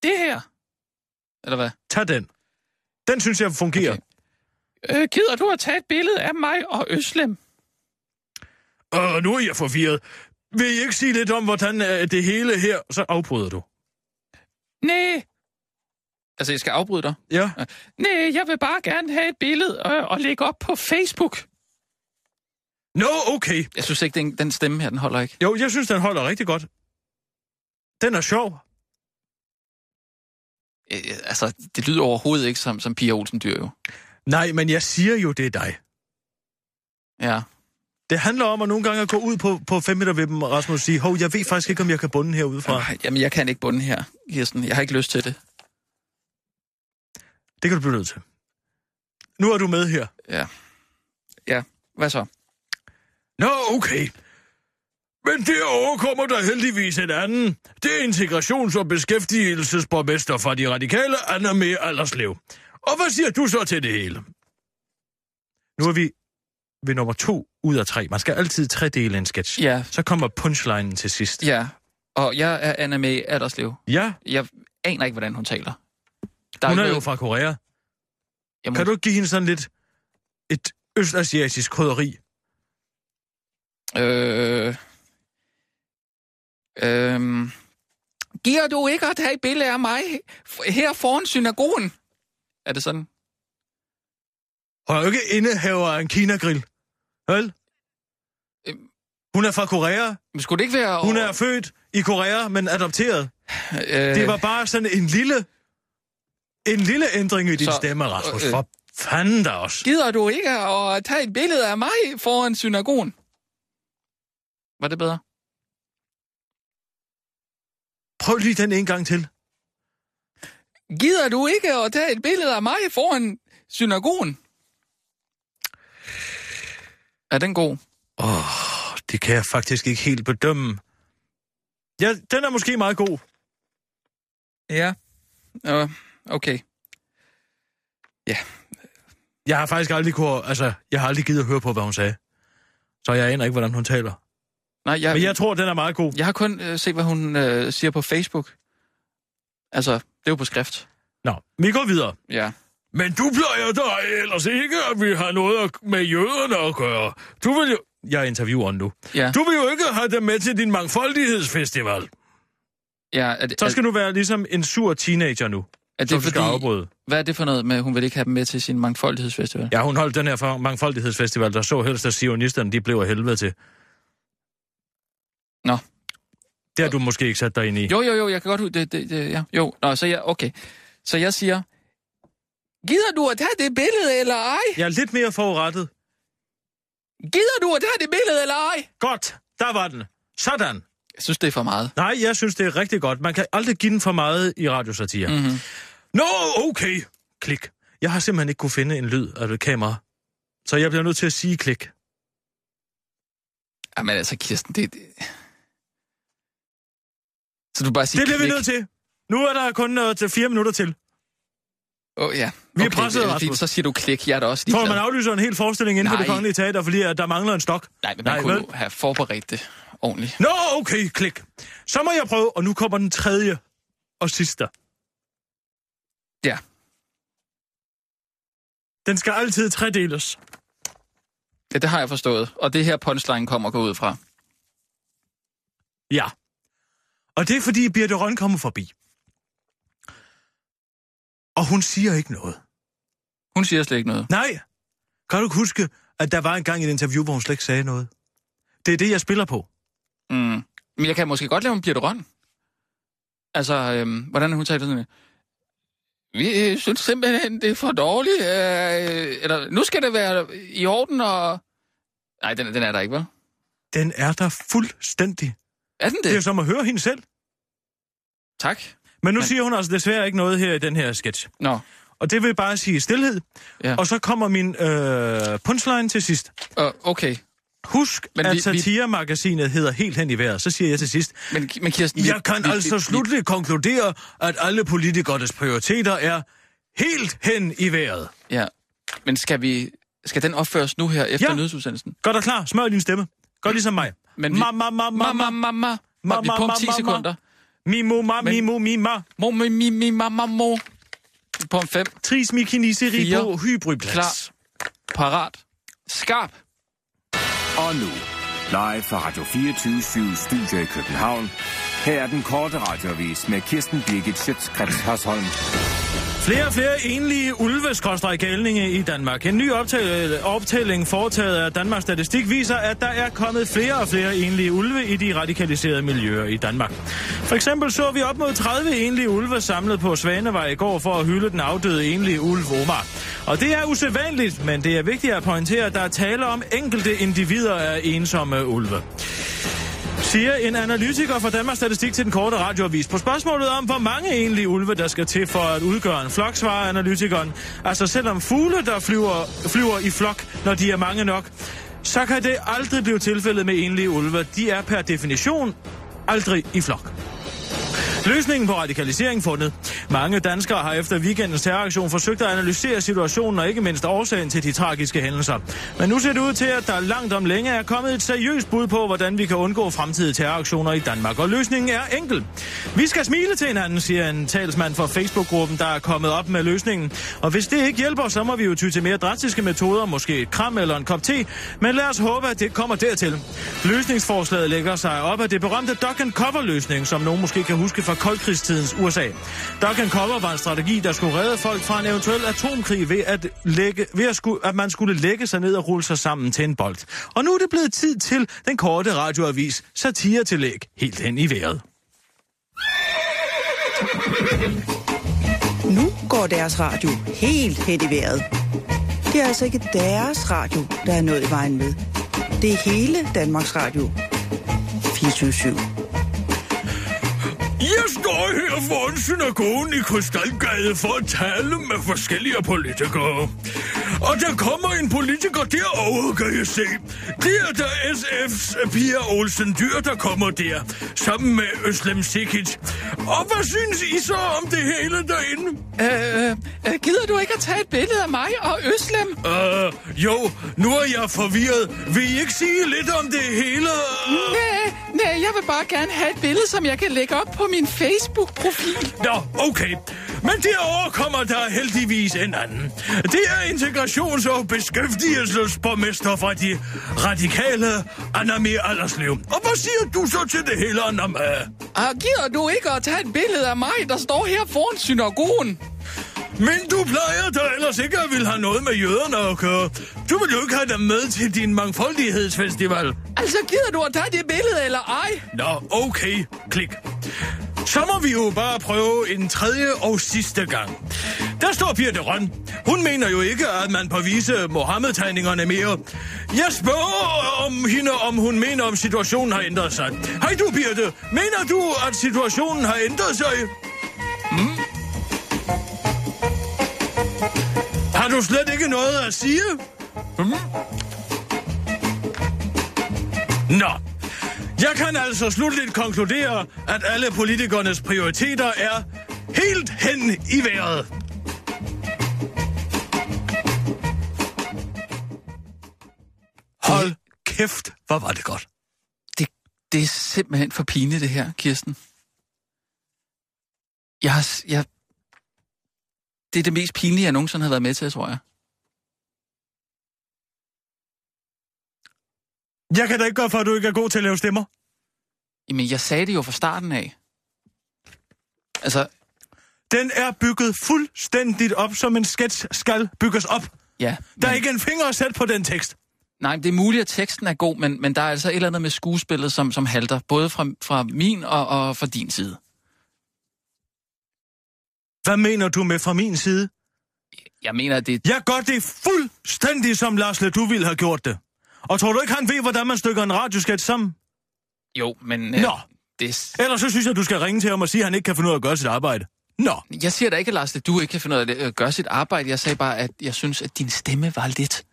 Speaker 4: det her. Eller hvad?
Speaker 5: Tag den. Den synes jeg fungerer.
Speaker 4: Okay. Øh, gider du at tage et billede af mig og Øslem?
Speaker 5: Og Øh, nu er jeg forvirret. Vil I ikke sige lidt om, hvordan øh, det hele her... Så afbryder du.
Speaker 4: Nej. Altså, jeg skal afbryde dig.
Speaker 5: Ja.
Speaker 4: Nej, jeg vil bare gerne have et billede øh, og lægge op på Facebook.
Speaker 5: Nå, okay.
Speaker 4: Jeg synes ikke, den, den stemme her, den holder ikke.
Speaker 5: Jo, jeg synes, den holder rigtig godt. Den er sjov.
Speaker 4: Øh, altså, det lyder overhovedet ikke som, som Pia Olsen Dyr, jo.
Speaker 5: Nej, men jeg siger jo, det er dig.
Speaker 4: Ja.
Speaker 5: Det handler om at nogle gange at gå ud på, på 5 meter ved dem, Rasmus, og sige, hov, jeg ved faktisk ikke, om jeg kan bunde herudefra.
Speaker 4: Ej, Jamen, jeg kan ikke bunde her, Kirsten. Jeg har ikke lyst til det.
Speaker 5: Det kan du blive nødt til. Nu er du med her.
Speaker 4: Ja. Ja, hvad så?
Speaker 5: Nå, okay. Men derovre kommer der heldigvis en anden. Det er integrations- og beskæftigelsesborgmester fra de radikale, Anna Mee Allerslev. Og hvad siger du så til det hele? Nu er vi ved nummer to ud af tre. Man skal altid tredele en sketch.
Speaker 4: Ja.
Speaker 5: Så kommer punchlinen til sidst.
Speaker 4: Ja, og jeg er Anna May Adderslev.
Speaker 5: ja
Speaker 4: Jeg aner ikke, hvordan hun taler. Der Mm.
Speaker 5: hun er
Speaker 4: ikke
Speaker 5: jo fra Korea.
Speaker 4: Jamen,
Speaker 5: Kan du ikke give hende sådan lidt et østasiatisk krydderi?
Speaker 4: Øh... Øh... Giver du ikke at have et billede af mig f- her foran synagogen? Er det sådan?
Speaker 5: Hun er jo ikke indehaver af en kinagrill. Vel?
Speaker 4: Øhm.
Speaker 5: Hun er fra Korea.
Speaker 4: Men skulle det ikke være...
Speaker 5: Hun er født i Korea, men adopteret.
Speaker 4: Øh,
Speaker 5: Det var bare sådan en lille... En lille ændring i din
Speaker 4: Så-
Speaker 5: stemme, Rasmus.
Speaker 4: øh, øh.
Speaker 5: For fanden da også.
Speaker 4: Gider du ikke at tage et billede af mig foran synagogen? Var det bedre?
Speaker 5: Prøv lige den en gang til.
Speaker 4: Gider du ikke at tage et billede af mig foran synagogen? Er den god?
Speaker 5: Det kan jeg faktisk ikke helt bedømme. Ja, den er måske meget god.
Speaker 4: Ja. Øh, okay.
Speaker 5: Jeg har faktisk aldrig kunne... Altså, jeg har aldrig givet at høre på, hvad hun sagde. Så jeg aner ikke, hvordan hun taler.
Speaker 4: Nej, jeg,
Speaker 5: Men jeg tror, den er meget god.
Speaker 4: Jeg har kun øh, set, hvad hun øh, siger på Facebook. Altså, det er jo på skrift.
Speaker 5: Nå, vi går videre.
Speaker 4: Ja.
Speaker 5: Men du plejer da ellers ikke, at vi har noget at- med jøderne at gøre. Du vil jo... Jeg er intervieweren nu.
Speaker 4: Ja.
Speaker 5: Du vil jo ikke have dem med til din mangfoldighedsfestival.
Speaker 4: ja er det,
Speaker 5: Så skal du være ligesom en sur teenager nu,
Speaker 4: er, er
Speaker 5: som du skal afbryde.
Speaker 4: Hvad er det for noget med, at hun vil ikke have dem med til sin mangfoldighedsfestival?
Speaker 5: Ja, hun holdt den her for- mangfoldighedsfestival, der så helst, at sionisterne de blev af helvede til.
Speaker 4: Nå.
Speaker 5: Det har du måske ikke sat dig ind i.
Speaker 4: Jo, jo, jo, jeg kan godt huske det, det, det ja. Jo, Nå, så jeg, okay. Så jeg siger, gider du at tage det billede eller ej?
Speaker 5: Jeg er lidt mere forurettet.
Speaker 4: Gider du at tage det billede eller ej?
Speaker 5: Godt, der var den. Sådan.
Speaker 4: Jeg synes, det er for meget.
Speaker 5: Nej, jeg synes, det er rigtig godt. Man kan aldrig give den for meget i radiosatire. Mm.
Speaker 4: Mm-hmm.
Speaker 5: Nå, okay. Klik. Jeg har simpelthen ikke kunne finde en lyd af det kamera. Så jeg bliver nødt til at sige klik.
Speaker 4: Jamen altså, Kirsten, det... det... Så du bare siger
Speaker 5: Det bliver vi
Speaker 4: klik.
Speaker 5: nødt til. Nu er der kun øh, til fire minutter til.
Speaker 4: Åh, oh, ja.
Speaker 5: Vi er
Speaker 4: Okay,
Speaker 5: presset,
Speaker 4: det er
Speaker 5: Rasmus.
Speaker 4: fint. Så siger du klik, jeg er da også
Speaker 5: Tror du,
Speaker 4: ligeglad.
Speaker 5: man aflyser en hel forestilling inden for det
Speaker 4: Nej.
Speaker 5: kongelige teater, fordi at der mangler en stok?
Speaker 4: Nej, men man
Speaker 5: Nej,
Speaker 4: Nej, kunne
Speaker 5: vel?
Speaker 4: jo have forberedt det ordentligt.
Speaker 5: Nå, okay, klik. Så må jeg prøve, og nu kommer den tredje og sidste.
Speaker 4: Ja.
Speaker 5: Den skal altid tredeles.
Speaker 4: ja, det har jeg forstået. Og det er her punchline kommer gå ud fra.
Speaker 5: Ja. Og det er, fordi Birte Røn kommer forbi. Og hun siger ikke noget.
Speaker 4: Hun siger slet ikke noget.
Speaker 5: Nej. Kan du ikke huske, at der var engang et interview, hvor hun slet ikke sagde noget? Det er det, jeg spiller på.
Speaker 4: Mm. Men jeg kan måske godt lave en Birte Røn. Altså, øhm, hvordan er hun taler sådan? Vi øh, synes simpelthen, det er for dårligt. Øh, eller, nu skal det være i orden, og... Nej, den, den er der ikke, vel?
Speaker 5: Den er der fuldstændig.
Speaker 4: Er den det?
Speaker 5: Det er jo som at høre hende selv.
Speaker 4: Tak.
Speaker 5: Men nu
Speaker 4: Men-
Speaker 5: siger hun altså desværre ikke noget her i den her sketch.
Speaker 4: Nå,
Speaker 5: Og det vil bare sige stillhed.
Speaker 4: Ja.
Speaker 5: Og så kommer min øh, punchline til sidst.
Speaker 4: øh, okay.
Speaker 5: Husk,
Speaker 4: Men
Speaker 5: Men at
Speaker 4: vi- vi-
Speaker 5: satiremagasinet hedder helt hen i vejret. Så siger jeg til sidst,
Speaker 4: Men, men Kirsten... vi-
Speaker 5: jeg kan
Speaker 4: vi-
Speaker 5: altså
Speaker 4: vi-
Speaker 5: slutligt konkludere, at alle politikernes prioriteter er helt hen i vejret.
Speaker 4: Vi, ja, men skal vi... Skal den opføres nu her efter
Speaker 5: Ja.
Speaker 4: ja. nyhedsudsendelsen?
Speaker 5: Godt og klar, smør din stemme. Godt ligesom mig.
Speaker 4: Men vi-
Speaker 5: ma, ma, ma, ma,
Speaker 4: Mamma,
Speaker 5: ma,
Speaker 4: mamma.
Speaker 5: Ma,
Speaker 4: Ma, vi
Speaker 5: ma,
Speaker 4: er på om
Speaker 5: ma,
Speaker 4: 10
Speaker 5: ma, ma.
Speaker 4: sekunder.
Speaker 5: mimo, ma,
Speaker 4: Men-
Speaker 5: mimo, mi, ma.
Speaker 4: Mo, mi, mi, mi, ma, ma, mo. På en fem.
Speaker 5: Tris mi kiniseri
Speaker 4: Fire.
Speaker 5: på hybridplads.
Speaker 4: Klar. Parat. Skarp.
Speaker 6: Og nu, live fra Radio 24 Studio i København. Her er den korte radiovis med Kirsten Birgit Schøtzgrads Hasholm.
Speaker 5: Flere og flere enlige ulve i Danmark. En ny optæ- optælling foretaget af Danmarks Statistik viser, at der er kommet flere og flere enlige ulve i de radikaliserede miljøer i Danmark. For eksempel så vi op mod 30 enlige ulve samlet på Svanevej i går for at hylde den afdøde enlige ulv Omar. Og det er usædvanligt, men det er vigtigt at pointere, at der er tale om enkelte individer af ensomme ulve siger en analytiker fra Danmarks Statistik til den korte radioavis. På spørgsmålet om, hvor mange egentlige ulve, der skal til for at udgøre en flok, svarer analytikeren. Altså selvom fugle, der flyver, flyver i flok, når de er mange nok, så kan det aldrig blive tilfældet med enlige ulve. De er per definition aldrig i flok. Løsningen på radikalisering fundet. Mange danskere har efter weekendens terroraktion forsøgt at analysere situationen og ikke mindst årsagen til de tragiske hændelser. Men nu ser det ud til, at der langt om længe er kommet et seriøst bud på, hvordan vi kan undgå fremtidige terroraktioner i Danmark. Og løsningen er enkel. Vi skal smile til hinanden, siger en talsmand for Facebook-gruppen, der er kommet op med løsningen. Og hvis det ikke hjælper, så må vi jo ty til mere drastiske metoder, måske et kram eller en kop te. Men lad os håbe, at det kommer dertil. Løsningsforslaget lægger sig op af det berømte duck and cover-løsning, som nogen måske kan huske fra koldkrigstidens USA. Duck and cover var en strategi, der skulle redde folk fra en eventuel atomkrig ved at, lægge, ved at, sku, at man skulle lægge sig ned og rulle sig sammen til en bold. Og nu er det blevet tid til den korte radioavis satiretillæg helt hen i vejret.
Speaker 9: Nu går deres radio helt hen i vejret. Det er altså ikke deres radio, der er noget i vejen med. Det er hele Danmarks Radio. 24
Speaker 5: Jeg står her foran synagogen i Krystalgade for at tale med forskellige politikere. Og der kommer en politiker derovre, kan jeg se. Det er der SF's Pia Olsen Dyr, der kommer der, sammen med Øslem Sikic. Og hvad synes I så om det hele derinde?
Speaker 4: Øh, øh, gider du ikke at tage et billede af mig og Øslem?
Speaker 5: Øh, jo, nu er jeg forvirret. Vil I ikke sige lidt om det hele?
Speaker 4: Nej, Øh, nej, jeg vil bare gerne have et billede, som jeg kan lægge op på min Facebook-profil.
Speaker 5: Nå, okay. Men derovre kommer der heldigvis en anden. Det er integrations- og beskæftigelsesborgmester fra de radikale, Anami Alderslev. Og hvad siger du så til det hele, Anami?
Speaker 4: Og Ah, gider du ikke at tage et billede af mig, der står her foran synagogen?
Speaker 5: Men du plejer da ellers ikke at ville have noget med jøderne at gøre. Du vil jo ikke have dem med til din mangfoldighedsfestival.
Speaker 4: Altså, gider du at tage det billede eller ej?
Speaker 5: Nå, okay. Klik. Så må vi jo bare prøve en tredje og sidste gang. Der står Birte Røn. Hun mener jo ikke, at man på vise Mohammed-tegningerne mere. Jeg spørger om hende, om hun mener, om situationen har ændret sig. Hej du, Birte. Mener du, at situationen har ændret sig? Mm? Har du slet ikke noget at sige? Hmm? Nå. Jeg kan altså slutligt konkludere, at alle politikernes prioriteter er helt hen i vejret. Hold kæft, hvor var det godt.
Speaker 4: Det, det er simpelthen for pinligt, det her, Kirsten. Jeg har... s- Jeg... Det er det mest pinlige, jeg nogensinde har været med til, tror jeg.
Speaker 5: Jeg kan da ikke gøre for, at du ikke er god til at lave stemmer.
Speaker 4: Jamen, jeg sagde det jo fra starten af. Altså,
Speaker 5: Den er bygget fuldstændigt op, som en sketch skal bygges op.
Speaker 4: ja.
Speaker 5: Der er ikke en finger at sætte på den tekst.
Speaker 4: Nej, men det er muligt, at teksten er god, men, men der er altså et eller andet med skuespillet, som, som halter. Både fra, fra min og, og fra din side.
Speaker 5: Hvad mener du med fra min side?
Speaker 4: Jeg mener, at det...
Speaker 5: Jeg gør det fuldstændig, som Lars du ville have gjort det. Og tror du ikke, han ved, hvordan man stykker en radiosketch sammen?
Speaker 4: Jo, men... øh,
Speaker 5: Nå.
Speaker 4: Det, er s-
Speaker 5: Ellers så synes jeg, du skal ringe til ham og sige, at han ikke kan finde ud af at gøre sit arbejde. Nå,
Speaker 4: jeg siger da ikke, Lars, at du ikke kan finde ud af det- at gøre sit arbejde. Jeg sagde bare, at jeg synes, at din stemme var lidt...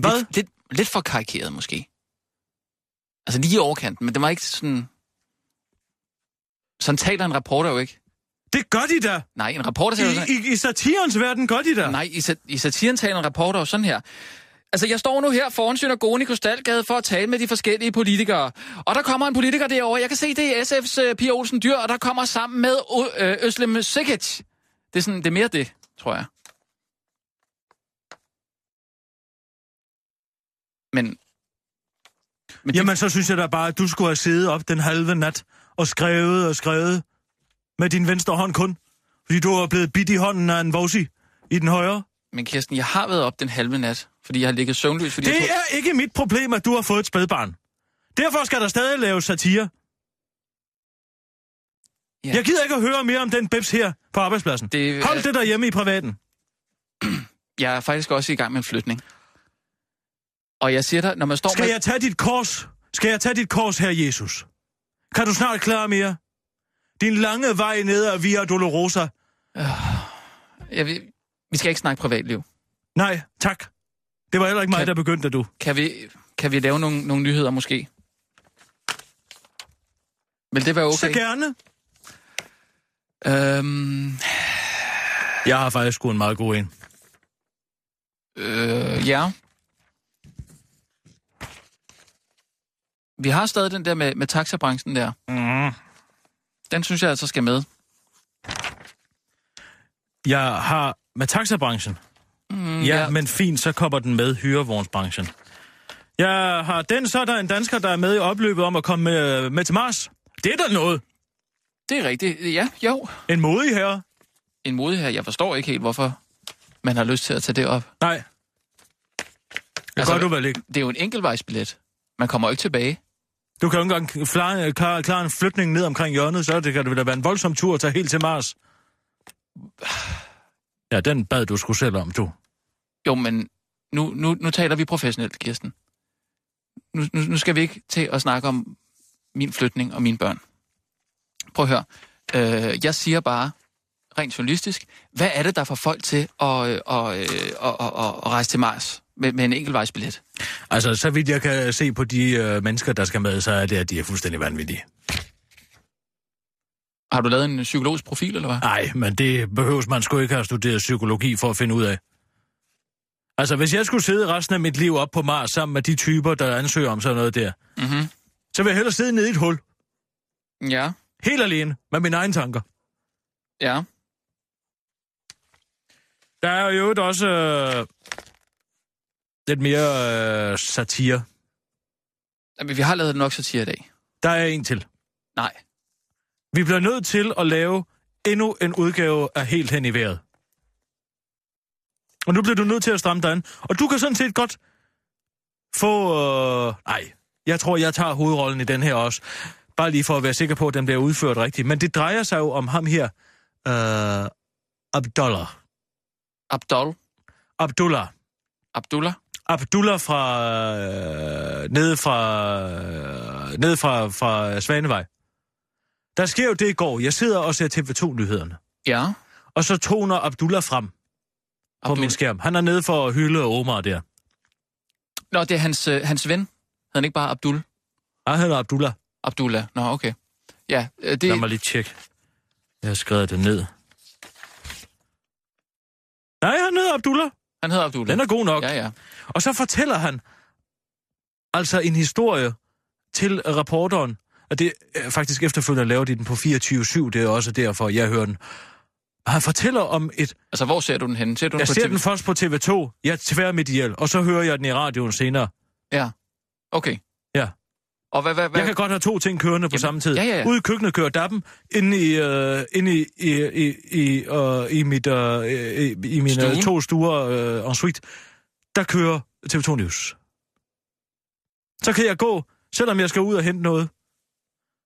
Speaker 5: hvad?
Speaker 4: Lidt, lidt, lidt for karikeret, måske. Altså lige i overkanten, men det var ikke sådan... Sådan taler en reporter jo ikke.
Speaker 5: Det gør de da.
Speaker 4: Nej, en reporter taler jo sådan...
Speaker 5: I, i, i satirens verden gør de da.
Speaker 4: Nej, i, sat- i satiren taler en reporter jo sådan her. Altså, jeg står nu her foran synagogen i Krystalgade for at tale med de forskellige politikere. Og der kommer en politiker derovre. Jeg kan se, det er SF's øh, Pia Olsen Dyr, og der kommer sammen med Ø- øh, Øslem Sikic. Det er, sådan, det er mere det, tror jeg. Men... men det-
Speaker 5: Jamen, så synes jeg da bare, at du skulle have siddet op den halve nat og skrevet og skrevet med din venstre hånd kun. Fordi du er blevet bidt i hånden af en vovsi i den højre.
Speaker 4: Men Kirsten, jeg har været op den halve nat, fordi jeg har ligget søvnløs. Fordi jeg
Speaker 5: Det
Speaker 4: troede-
Speaker 5: er ikke mit problem, at du har fået et spædbarn. Derfor skal der stadig laves satire.
Speaker 4: Ja.
Speaker 5: Jeg gider ikke at høre mere om den bips her på arbejdspladsen.
Speaker 4: Det er-
Speaker 5: Hold det derhjemme i privaten.
Speaker 4: Jeg er faktisk også i gang med en flytning. Og jeg siger dig, når man står
Speaker 5: Skal
Speaker 4: med...
Speaker 5: jeg tage dit kors? Skal jeg tage dit kors, her Jesus? Kan du snart klare mere? Din lange vej ned ad Via Dolorosa.
Speaker 4: Jeg ved, vi skal ikke snakke privatliv.
Speaker 5: Nej, tak. Det var heller ikke mig,
Speaker 4: Kan-
Speaker 5: der begyndte, du.
Speaker 4: Kan vi, kan vi lave nogle, nogle nyheder måske? Vil det være
Speaker 5: Så
Speaker 4: okay?
Speaker 5: gerne.
Speaker 4: Øhm,
Speaker 5: Jeg har faktisk sgu en meget god en.
Speaker 4: øh, ja. Vi har stadig den der med, med taxabranchen der. Mm. Den synes jeg altså skal med.
Speaker 5: Jeg har med taxabranchen. Mm, ja,
Speaker 4: ja.
Speaker 5: ja, men fint, så kommer den med hyrevognsbranchen. Jeg har den, så er der en dansker, der er med i opløbet om at komme med, med til Mars. Det er da noget.
Speaker 4: Det er rigtigt. Ja, jo.
Speaker 5: En modig herre.
Speaker 4: En modig her. Jeg forstår ikke helt, hvorfor man har lyst til at tage det op.
Speaker 5: Nej. Det
Speaker 4: Altså,
Speaker 5: altså, gør du vel ikke.
Speaker 4: Det er jo en enkeltvejsbillet. Man kommer jo ikke tilbage.
Speaker 5: Du kan jo ikke engang klare, klare, klare en flytning ned omkring hjørnet, så det kan det da være en voldsom tur at tage helt til Mars. Ja, den bad du sgu selv om, du.
Speaker 4: Jo, men nu, nu, nu taler vi professionelt, Kirsten. Nu, nu, nu skal vi ikke til at snakke om min flytning og mine børn. Prøv at høre. Øh, jeg siger bare, rent journalistisk, hvad er det, der får folk til at, øh, og, øh, og, og, og, og rejse til Mars med, med en enkeltvejsbillet?
Speaker 5: Altså, så vidt jeg kan se på de øh, mennesker, der skal med, så er det, at de er fuldstændig vanvittige.
Speaker 4: Har du lavet en psykologisk profil, eller hvad?
Speaker 5: Nej, men det behøves man sgu ikke have studeret psykologi for at finde ud af. Altså, hvis jeg skulle sidde resten af mit liv op på Mars sammen med de typer, der ansøger om sådan noget der,
Speaker 4: Mm-hmm.
Speaker 5: så vil jeg hellere sidde nede i et hul,
Speaker 4: Ja,
Speaker 5: helt alene, med mine egne tanker.
Speaker 4: ja.
Speaker 5: Der er jo i øvrigt også øh, lidt mere øh, satire.
Speaker 4: Jamen, vi har lavet nok satire i dag.
Speaker 5: Der er en til.
Speaker 4: Nej.
Speaker 5: Vi bliver nødt til at lave endnu en udgave af Helt hen i vejret. Og nu bliver du nødt til at stramme dig an. Og du kan sådan set godt få... Øh, nej, jeg tror, jeg tager hovedrollen i den her også. Bare lige for at være sikker på, at den bliver udført rigtigt. Men det drejer sig jo om ham her. Øh, Abdullah.
Speaker 4: Abdul,
Speaker 5: Abdullah.
Speaker 4: Abdullah,
Speaker 5: Abdullah fra... Øh, nede fra... Øh, nede fra, fra Svanevej. Der sker jo det i går. Jeg sidder og ser TV2-nyhederne.
Speaker 4: ja.
Speaker 5: Og så toner Abdullah frem Abdullah. på
Speaker 4: Abdul.
Speaker 5: min skærm. Han er nede for at hylde Omar der.
Speaker 4: Nå, det er hans, øh, hans ven. Hedder han ikke bare Abdul?
Speaker 5: Ah, han er Abdullah.
Speaker 4: Abdullah. Nå, okay. Ja, øh, det...
Speaker 5: Lad mig lige tjekke. Jeg har skrevet det ned. Nej, han hedder Abdullah.
Speaker 4: Han hedder Abdullah.
Speaker 5: Den er god nok.
Speaker 4: Ja, ja.
Speaker 5: Og så fortæller han altså en historie til rapporteren. Og det er faktisk efterfølgende lavet i den på 24-7. Det er også derfor, jeg hører den. Han fortæller om et
Speaker 4: Altså, hvor ser du den henne? Ser du den
Speaker 5: Jeg
Speaker 4: på
Speaker 5: ser
Speaker 4: TV?
Speaker 5: den først på TV2, jeg tvær mit ihjel, og så hører jeg den i radioen senere.
Speaker 4: Ja. Okay.
Speaker 5: Ja.
Speaker 4: Og hvad, hvad, hvad?
Speaker 5: Jeg kan godt have to ting kørende på
Speaker 4: Jamen,
Speaker 5: samme tid.
Speaker 4: ja, ja, ja.
Speaker 5: Ude i køkkenet kører dappen, inde i, øh, inde i, i, i, i, øh, i, mit, øh, i, i mine
Speaker 4: Stuen.
Speaker 5: Stuen. to store øh, ensuite, der kører TV2 News. Så kan jeg gå, selvom jeg skal ud og hente noget,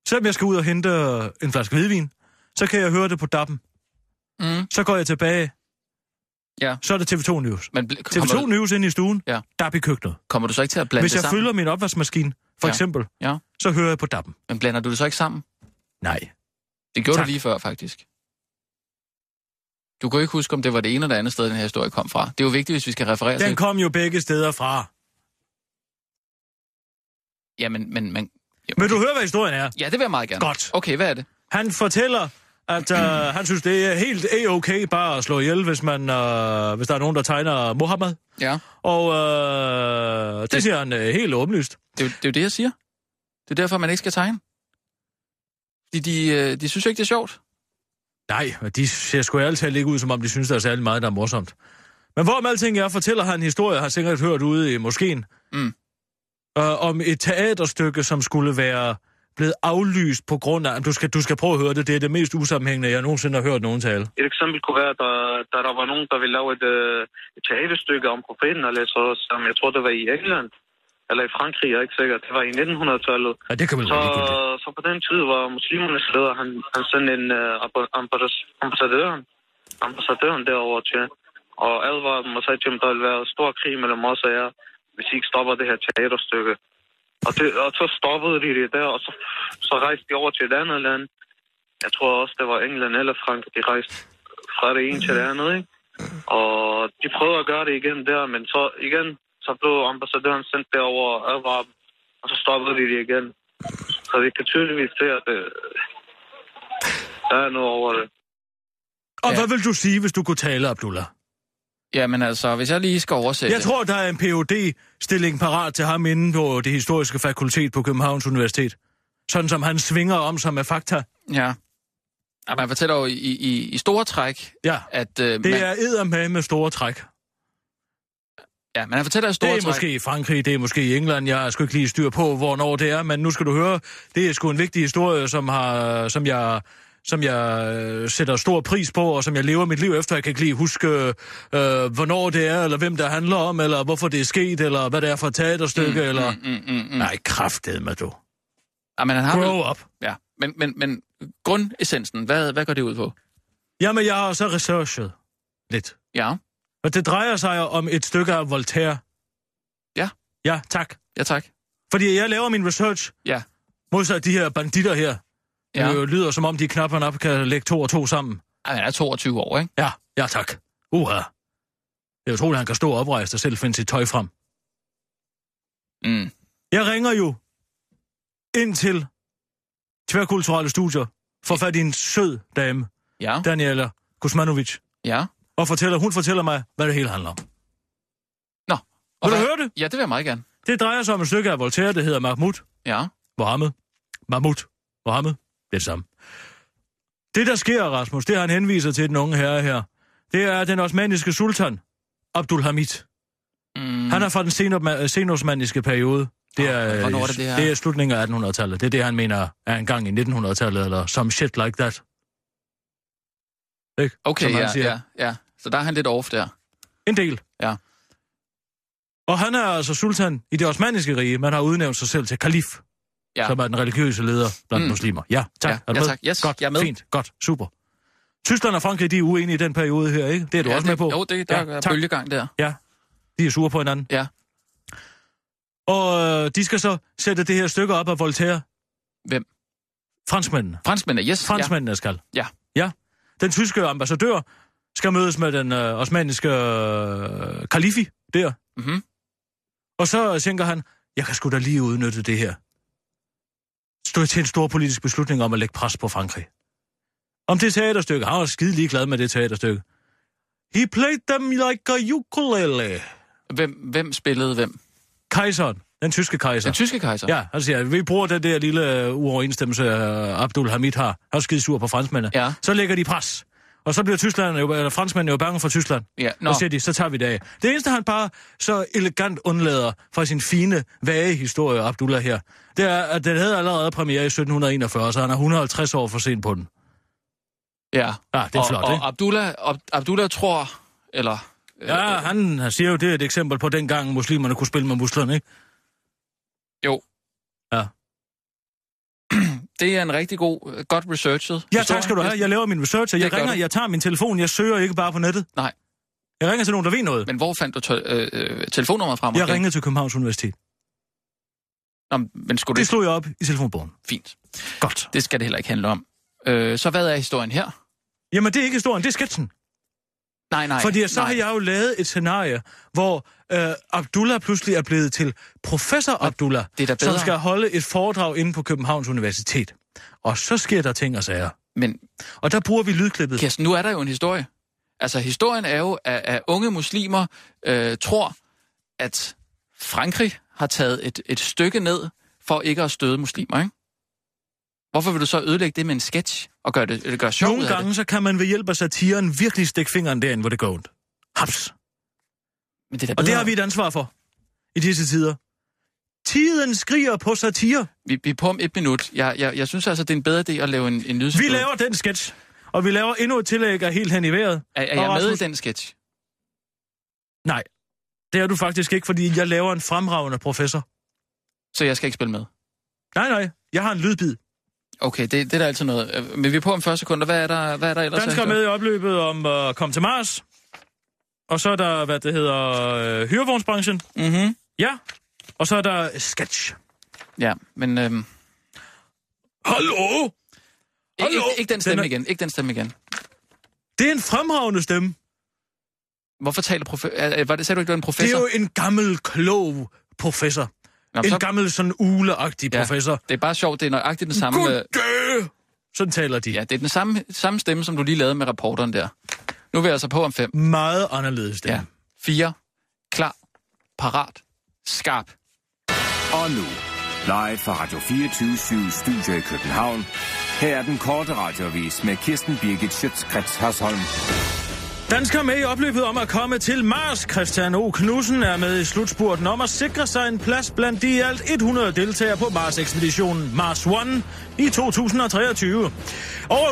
Speaker 5: selvom jeg skal ud og hente øh, en flaske hvidvin, så kan jeg høre det på dappen.
Speaker 4: Mm.
Speaker 5: Så går jeg tilbage,
Speaker 4: Ja.
Speaker 5: så er det TV2 News.
Speaker 4: Men bl- kommer,
Speaker 5: TV2
Speaker 4: du,
Speaker 5: News ind i stuen,
Speaker 4: Ja.
Speaker 5: dap i køkkenet.
Speaker 4: kommer du så ikke til at blande
Speaker 5: Hvis
Speaker 4: det
Speaker 5: jeg
Speaker 4: sammen?
Speaker 5: følger min opvaskemaskine, for
Speaker 4: Ja.
Speaker 5: ja. eksempel,
Speaker 4: Ja.
Speaker 5: så hører jeg på dappen.
Speaker 4: Men blander du det så ikke sammen?
Speaker 5: Nej.
Speaker 4: Det gjorde
Speaker 5: Tak.
Speaker 4: du lige før, faktisk. Du kan jo ikke huske, om det var det ene eller det andet sted, den her historie kom fra. Det er jo vigtigt, hvis vi skal referere
Speaker 5: Den
Speaker 4: til...
Speaker 5: kom jo begge steder fra.
Speaker 4: Jamen, men... men ja,
Speaker 5: Men du hører, hvad historien er.
Speaker 4: Ja, det vil jeg meget gerne.
Speaker 5: Godt.
Speaker 4: Okay, hvad er det?
Speaker 5: Han fortæller, at øh, han synes, det er helt a-okay bare at slå ihjel, hvis, man, øh, hvis der er nogen, der tegner Mohammed.
Speaker 4: Ja,
Speaker 5: Og øh, det,
Speaker 4: Det-
Speaker 5: det siger han øh, helt åbenlyst.
Speaker 4: det, er jo- det er jo det, jeg siger. Det er derfor, man ikke skal tegne. De, de, øh, de synes jo ikke, det er sjovt.
Speaker 5: Nej, men de ser sgu ærligt talt ikke ud, som om de synes, der er særlig meget, der er morsomt. Men hvorom alting er, fortæller han en historie, jeg har sikkert hørt ude i moskeen,
Speaker 4: Mm.
Speaker 5: øh, om et teaterstykke, som skulle være blevet aflyst på grund af... Du skal, du skal prøve at høre det. Det er det mest usammenhængende, jeg nogensinde har hørt nogen tale.
Speaker 10: Et eksempel kunne være, der, der, der var nogen, der ville lave et, øh, et teaterstykke om profeten, eller så, som jeg tror, det var i England, eller i Frankrig, jeg er ikke sikker. Det var i 1900-tallet.
Speaker 5: Ja, det kan vel
Speaker 10: Så,
Speaker 5: være ligegyldigt.
Speaker 10: så på den tid var muslimernes leder, han, han sendte en øh, amba- ambas- ambassadøren, ambassadøren derover til, og advarede dem og sagde til dem, der vil være stor krig mellem os og jer, hvis I ikke stopper det her teaterstykke. Og, det, og så stoppede de det der, og så, så rejste de over til et andet land. Jeg tror også, det var England eller Frankrig, de rejste fra det ene til det andet, ikke? Og de prøvede at gøre det igen der, men så igen, så blev ambassadøren sendt derover og advarede dem, og så stoppede de det igen. Så vi kan tydeligvis se, at øh, der er noget over det.
Speaker 5: Og
Speaker 4: Ja.
Speaker 5: hvad vil du sige, hvis du kunne tale, Abdullah?
Speaker 4: Jamen altså, hvis jeg lige skal oversætte...
Speaker 5: Jeg tror, der er en phd stilling parat til ham inde på det historiske fakultet på Københavns Universitet. Sådan som han svinger om sig med fakta.
Speaker 4: Ja. Og man fortæller jo i, i, i store træk,
Speaker 5: Ja,
Speaker 4: at... Øh, man,
Speaker 5: det er eddermame med store træk.
Speaker 4: Ja, men han fortæller i store
Speaker 5: Det er
Speaker 4: træk...
Speaker 5: måske i Frankrig, det er måske i England. Jeg har sgu ikke lige styr på, hvornår det er, men nu skal du høre. Det er sgu en vigtig historie, som, har, som jeg som jeg øh, sætter stor pris på, og som jeg lever mit liv efter. Jeg kan ikke lige huske, øh, hvornår det er, eller hvem det handler om, eller hvorfor det er sket, eller hvad det er for et teaterstykke, mm, eller... Mm,
Speaker 4: Mm, mm, mm.
Speaker 5: Nej, kraftet med du.
Speaker 4: Ja, men han har vel...
Speaker 5: Grow up.
Speaker 4: Ja, men, men, men grundessensen, hvad, hvad går det ud på?
Speaker 5: Jamen, jeg har så researchet lidt.
Speaker 4: Ja,
Speaker 5: Og det drejer sig om et stykke af Voltaire.
Speaker 4: Ja.
Speaker 5: Ja, tak.
Speaker 4: ja tak.
Speaker 5: Fordi jeg laver min research
Speaker 4: Ja,
Speaker 5: modsat de her banditter her. Ja.
Speaker 4: ja.
Speaker 5: Det jo Øh, lyder, som om de knap og nap kan lægge to og to sammen.
Speaker 4: Ej, han er 22 år, ikke?
Speaker 5: Ja, ja tak. Uha. Det er utroligt, han kan stå oprejst og selv finde sit tøj frem.
Speaker 4: Mm.
Speaker 5: Jeg ringer jo ind til tværkulturelle studier for fat i en sød dame,
Speaker 4: Ja,
Speaker 5: Daniela Kusmanovic,
Speaker 4: ja.
Speaker 5: og fortæller, hun fortæller mig, hvad det hele handler om.
Speaker 4: Nå. og
Speaker 5: Vil du
Speaker 4: hvad-
Speaker 5: høre det?
Speaker 4: Ja, det vil jeg meget gerne.
Speaker 5: Det drejer sig om et stykke af Voltaire, det hedder Mahmoud.
Speaker 4: Ja,
Speaker 5: Mohammed. Mahmoud. Mohammed. Det er det samme. Det, der sker, Rasmus, det han henviser til den unge herre her, det er den osmaniske sultan, Abdulhamid. Mm. Han er fra den senopma- senosmaniske periode. Det
Speaker 4: Ah,
Speaker 5: er,
Speaker 4: hvornår er det, det er?
Speaker 5: det er slutningen af 1800-tallet. Det er det, han mener er en gang i 1900-tallet, eller some shit like that. Ikke?
Speaker 4: okay,
Speaker 5: Som han
Speaker 4: ja,
Speaker 5: siger.
Speaker 4: ja, ja. Så der er han lidt off der.
Speaker 5: En del.
Speaker 4: Ja.
Speaker 5: Og han er altså sultan i det osmaniske rige. Man har udnævnt sig selv til kalif.
Speaker 4: Ja.
Speaker 5: ja. som er den religiøse leder blandt
Speaker 4: Mm.
Speaker 5: mm. muslimer. Ja, tak.
Speaker 4: Ja,
Speaker 5: er du
Speaker 4: ja,
Speaker 5: med?
Speaker 4: tak. Yes,
Speaker 5: godt,
Speaker 4: jeg er med.
Speaker 5: Fint, godt, super. Tyskland og Frankrig, de er uenige i den periode her, ikke? Det er du
Speaker 4: ja,
Speaker 5: også med
Speaker 4: det,
Speaker 5: på?
Speaker 4: Jo, det, der ja, er
Speaker 5: tak.
Speaker 4: bølgegang der.
Speaker 5: Ja, de er sure på hinanden.
Speaker 4: Ja.
Speaker 5: Og øh, de skal så sætte det her stykke op af Voltaire.
Speaker 4: Hvem?
Speaker 5: Franskmændene.
Speaker 4: Franskmændene, yes.
Speaker 5: Franskmændene skal.
Speaker 4: Ja.
Speaker 5: Ja. Den tyske ambassadør skal mødes med den øh, osmaniske øh, kalifi der.
Speaker 4: Ja. Mm-hmm.
Speaker 5: Og så tænker han, jeg kan sgu da lige udnytte det her. Stå til en stor politisk beslutning om at lægge pres på Frankrig. Om det teaterstykke, han var skide ligeglad med det teaterstykke. He played them like a ukulele.
Speaker 4: Hvem, hvem spillede hvem?
Speaker 5: Kejseren, den tyske kejser.
Speaker 4: Den tyske kejser?
Speaker 5: Ja, han siger, vi bruger den der lille øh, uoverensstemmelse, øh, Abdul Hamid har. Han er skide sur på franskmændene.
Speaker 4: Ja.
Speaker 5: Så lægger de pres. Og så bliver Tyskland jo, eller franskmændene jo bange for Tyskland.
Speaker 4: Ja, nå.
Speaker 5: Nå. Og siger de, så tager vi det af. Det eneste, han bare så elegant undlader fra sin fine, vage historie, Abdullah her, det er, at den havde allerede premiere i 1741, så han er 150 år for sent på den.
Speaker 4: Ja.
Speaker 5: Ja, det er
Speaker 4: og,
Speaker 5: flot,
Speaker 4: og
Speaker 5: ikke?
Speaker 4: Abdullah, Ab- Abdullah tror, eller... øh,
Speaker 5: Ja, han, han siger jo, det er et eksempel på dengang, muslimerne kunne spille med musklerne, ikke?
Speaker 4: Jo.
Speaker 5: Ja.
Speaker 4: Det er en rigtig god, øh, godt researchet.
Speaker 5: Ja,
Speaker 4: historie.
Speaker 5: tak skal du have. Jeg laver min research, og
Speaker 4: Det
Speaker 5: jeg
Speaker 4: gør
Speaker 5: ringer,
Speaker 4: du.
Speaker 5: jeg tager min telefon, jeg søger ikke bare på nettet.
Speaker 4: Nej.
Speaker 5: Jeg ringer til nogen, der ved noget.
Speaker 4: Men hvor fandt du tø- øh, øh, telefonnummeret frem?
Speaker 5: Jeg ringede til Københavns Universitet.
Speaker 4: Nå, men skulle det
Speaker 5: Det
Speaker 4: ikke?
Speaker 5: slog jeg op i telefonbogen.
Speaker 4: Fint.
Speaker 5: Godt.
Speaker 4: Det skal det heller ikke handle om. Øh, så hvad er historien her?
Speaker 5: Jamen, det er ikke historien, det er sketsen.
Speaker 4: Nej, nej.
Speaker 5: Fordi så
Speaker 4: nej.
Speaker 5: har jeg jo lavet et scenarie, hvor øh, Abdullah pludselig er blevet til professor Abdullah,
Speaker 4: det er da
Speaker 5: som
Speaker 4: bedre.
Speaker 5: skal holde et foredrag inde på Københavns Universitet. Og så sker der ting og sager.
Speaker 4: Men
Speaker 5: Og der bruger vi lydklippet.
Speaker 4: Kirsten, nu er der jo en historie. Altså, historien er jo, at, at unge muslimer øh, tror, at Frankrig har taget et, et stykke ned for ikke at støde muslimer, ikke? Hvorfor vil du så ødelægge det med en sketch og gøre det, eller gøre sjov ud
Speaker 5: Nogle
Speaker 4: af
Speaker 5: gange,
Speaker 4: det?
Speaker 5: så kan man ved hjælp af satiren virkelig stikke fingeren derind, hvor det går ondt. Haps.
Speaker 4: Men det er da
Speaker 5: Og det
Speaker 4: bedre.
Speaker 5: har vi et ansvar for i disse tider. Tiden skriger på satire.
Speaker 4: Vi, vi er på om et minut. Jeg, jeg, jeg synes altså, det er en bedre idé at lave en, en lydskud.
Speaker 5: Vi laver den sketch, og vi laver endnu et tillæg af helt hen i vejret.
Speaker 4: Er, er jeg
Speaker 5: Og
Speaker 4: med i
Speaker 5: Rasmus-
Speaker 4: den sketch?
Speaker 5: Nej, det er du faktisk ikke, fordi jeg laver en fremragende professor.
Speaker 4: Så jeg skal ikke spille med?
Speaker 5: Nej, nej, jeg har en lydbid.
Speaker 4: Okay, det, det er der altid noget. Øh, Men vi er på om 40 sekunder. Hvad er der, hvad er der ellers?
Speaker 5: Danskere med i opløbet om at komme til Mars. Og så er der, hvad det hedder, øh, hyrevognsbranchen.
Speaker 4: Mm-hmm.
Speaker 5: Ja. Og så er der sketch.
Speaker 4: Ja, men... Øhm,
Speaker 5: Hallo?
Speaker 4: ikke,
Speaker 5: Hallo?
Speaker 4: ikke, ikke den stemme
Speaker 5: Den er-
Speaker 4: igen. Ikke den stemme igen.
Speaker 5: Det er en fremragende stemme.
Speaker 4: Hvorfor taler professor... Var det, sagde du ikke, det var en professor?
Speaker 5: Det er jo en gammel, klog professor.
Speaker 4: Nå,
Speaker 5: en
Speaker 4: så-
Speaker 5: gammel, sådan uleagtig
Speaker 4: Ja.
Speaker 5: professor.
Speaker 4: Det er bare sjovt, det er nøjagtigt den samme... øh,
Speaker 5: Goddag! Sådan taler de.
Speaker 4: Ja, det er den samme, samme stemme, som du lige lavede med reporteren der. Nu er vi altså på om fem.
Speaker 5: Meget anderledes stemme.
Speaker 4: Ja. Fire. Klar. Parat. Skarp.
Speaker 6: Og nu, live fra Radio 24 Studio i København. Her er den korte radiovis med Kirsten Birgit Schøtzgrads Hasholm.
Speaker 5: Danskere med i opløbet om at komme til Mars. Christian O. Knudsen er med i slutspurten om at sikre sig en plads blandt de i alt 100 deltagere på Mars-ekspeditionen Mars One i 2023. Over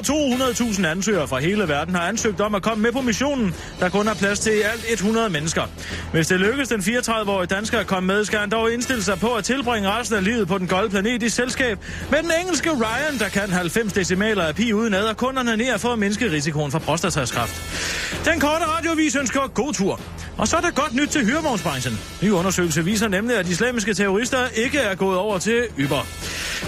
Speaker 5: 200.000 ansøgere fra hele verden har ansøgt om at komme med på missionen, der kun er plads til i alt 100 mennesker. Hvis det lykkes den 34-årige dansker at komme med, skal han dog indstille sig på at tilbringe resten af livet på den golde planet i selskab med den engelske Ryan, der kan 90 decimaler af pi uden ad, og kunderne ned for at mindske risikoen for prostataskraft. Den korte radiovis ønsker god tur. Og så er der godt nyt til hyrevognsbranchen. Ny undersøgelse viser nemlig, at islamiske terrorister ikke er gået over til Uber.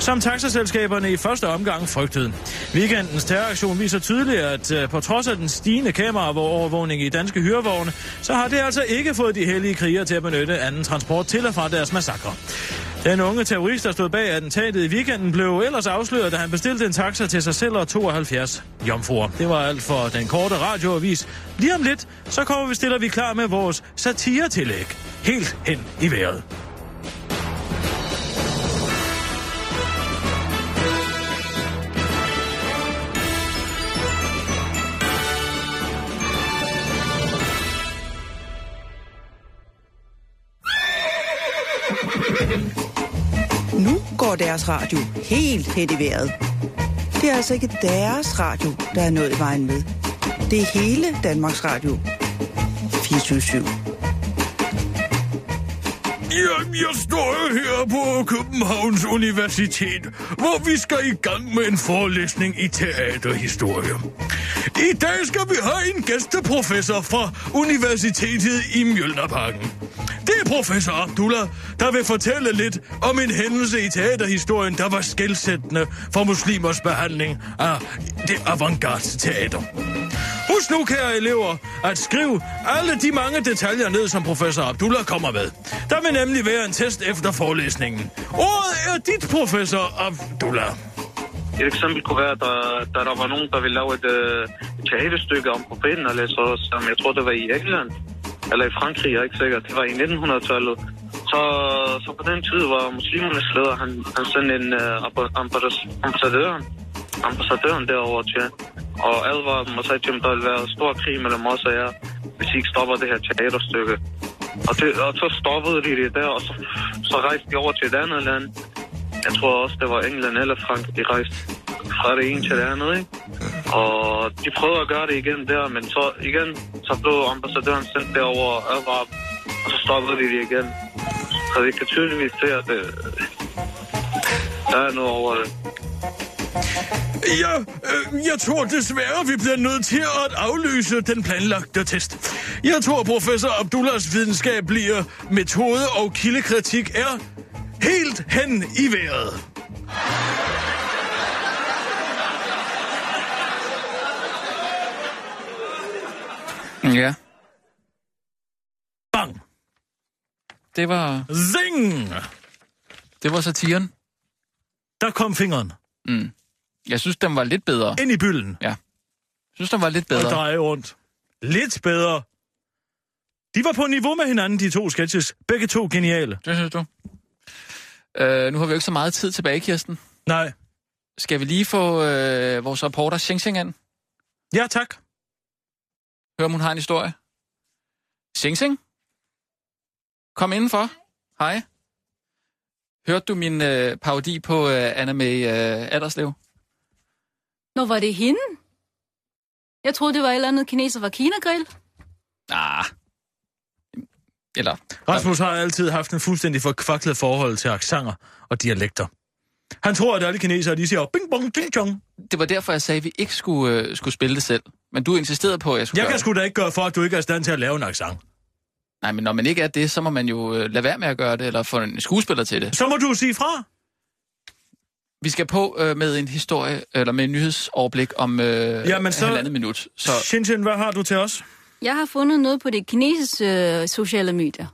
Speaker 5: Som taxaselskaberne i første omgang frygtede. Weekendens terroraktion viser tydeligt, at øh, på trods af den stigende kameraovervågning i danske hyrevogne, så har det altså ikke fået de hellige krigere til at benytte anden transport til og fra deres massakre. Den unge terrorist, der stod bag attentatet i weekenden, blev ellers afsløret, da han bestilte en taxa til sig selv og 72 jomfruer. Det var alt for den korte radioavis. Lige om lidt, så kommer vi stiller vi klar med vores satiretillæg. Helt hen i vejret.
Speaker 9: Nu går deres radio helt hen i vejret. Det er altså ikke deres radio, der er noget i vejen med. Det er hele Danmarks Radio. 24
Speaker 5: Jamen, jeg står jo her på Københavns Universitet, hvor vi skal i gang med en forelæsning i teaterhistorie. I dag skal vi have en gæsteprofessor fra Universitetet i Mjølnerparken. Det er professor Abdullah, der vil fortælle lidt om en hændelse i teaterhistorien, der var skældsættende for muslimers behandling af det avantgarde teater. Husk nu, kære elever, at skrive alle de mange detaljer ned, som professor Abdullah kommer med. Der vil nemlig være en test efter forelæsningen. Ordet er dit, professor Abdullah.
Speaker 10: Et eksempel kunne være, da, da der var nogen, der ville lave et, øh, et teaterstykke om profeten, eller så, som jeg tror, det var i England, eller i Frankrig, jeg er ikke sikker. Det var i 1900-tallet. Så, så på den tid var muslimernes leder, han, han sendte en øh, amba- ambassadør, ambassadøren, ambassadøren derover til, og advarede dem og sagde til dem, der ville være stor krig mellem os og jer, hvis I ikke stopper det her teaterstykke. Og, det, og så stoppede de det der, og så, så rejste de over til et andet land, jeg tror også, det var England eller Frankrig, de rejste fra det ene til det andet, ikke? Og de prøvede at gøre det igen der, men så igen, så blev ambassadøren sendt derover og advaret, dem, og så stoppede de det igen. Så vi kan tydeligvis se, at det, der er noget over det.
Speaker 5: Ja, øh, jeg tror desværre, vi bliver nødt til at aflyse den planlagte test. Jeg tror, professor Abdullahs videnskab bliver metode og kildekritik er helt hen i vejret.
Speaker 4: Ja.
Speaker 5: Bang!
Speaker 4: Det var,
Speaker 5: Zing!
Speaker 4: det var satiren.
Speaker 5: Der kom fingeren
Speaker 4: Jeg synes, den var lidt bedre.
Speaker 5: ind i bylden.
Speaker 4: Jeg synes, den var lidt
Speaker 5: og
Speaker 4: bedre.
Speaker 5: dreje rundt. Lidt bedre. De var på niveau med hinanden, de to sketches. Begge to geniale.
Speaker 4: Det synes du. Øh, nu har vi jo ikke så meget tid tilbage, Kirsten.
Speaker 5: Nej.
Speaker 4: Skal vi lige få øh, vores reporter Xing Xing ind?
Speaker 5: Ja, tak.
Speaker 4: Hør, om hun har en historie. Xing Xing? Kom indenfor. Hej. Hørte du min øh, parodi på øh, Anna May øh, Adderslev?
Speaker 11: Nå, var det hende? Jeg troede, det var et eller andet kineser fra Kina-grill.
Speaker 4: Ah. Eller...
Speaker 5: Rasmus har altid haft en fuldstændig forkvaklet forhold til aksanger og dialekter. Han tror, at alle kinesere, de siger bing bong ting chong.
Speaker 4: Det var derfor, jeg sagde, at vi ikke skulle, øh, skulle spille det selv. Men du insisterede på, at jeg skulle
Speaker 5: Jeg
Speaker 4: gøre
Speaker 5: kan
Speaker 4: det.
Speaker 5: sgu da ikke gøre for, at du ikke er i stand til at lave en accent.
Speaker 4: Nej, men når man ikke er det, så må man jo øh, lade være med at gøre det, eller få en skuespiller til det.
Speaker 5: Så må du sige fra.
Speaker 4: Vi skal på øh, med en historie, eller med en nyhedsoverblik om øh,
Speaker 5: Jamen, så-
Speaker 4: halvandet minut. Så
Speaker 5: Shinshin, hvad har du til os?
Speaker 11: Jeg har fundet noget på det kinesiske øh, sociale medier.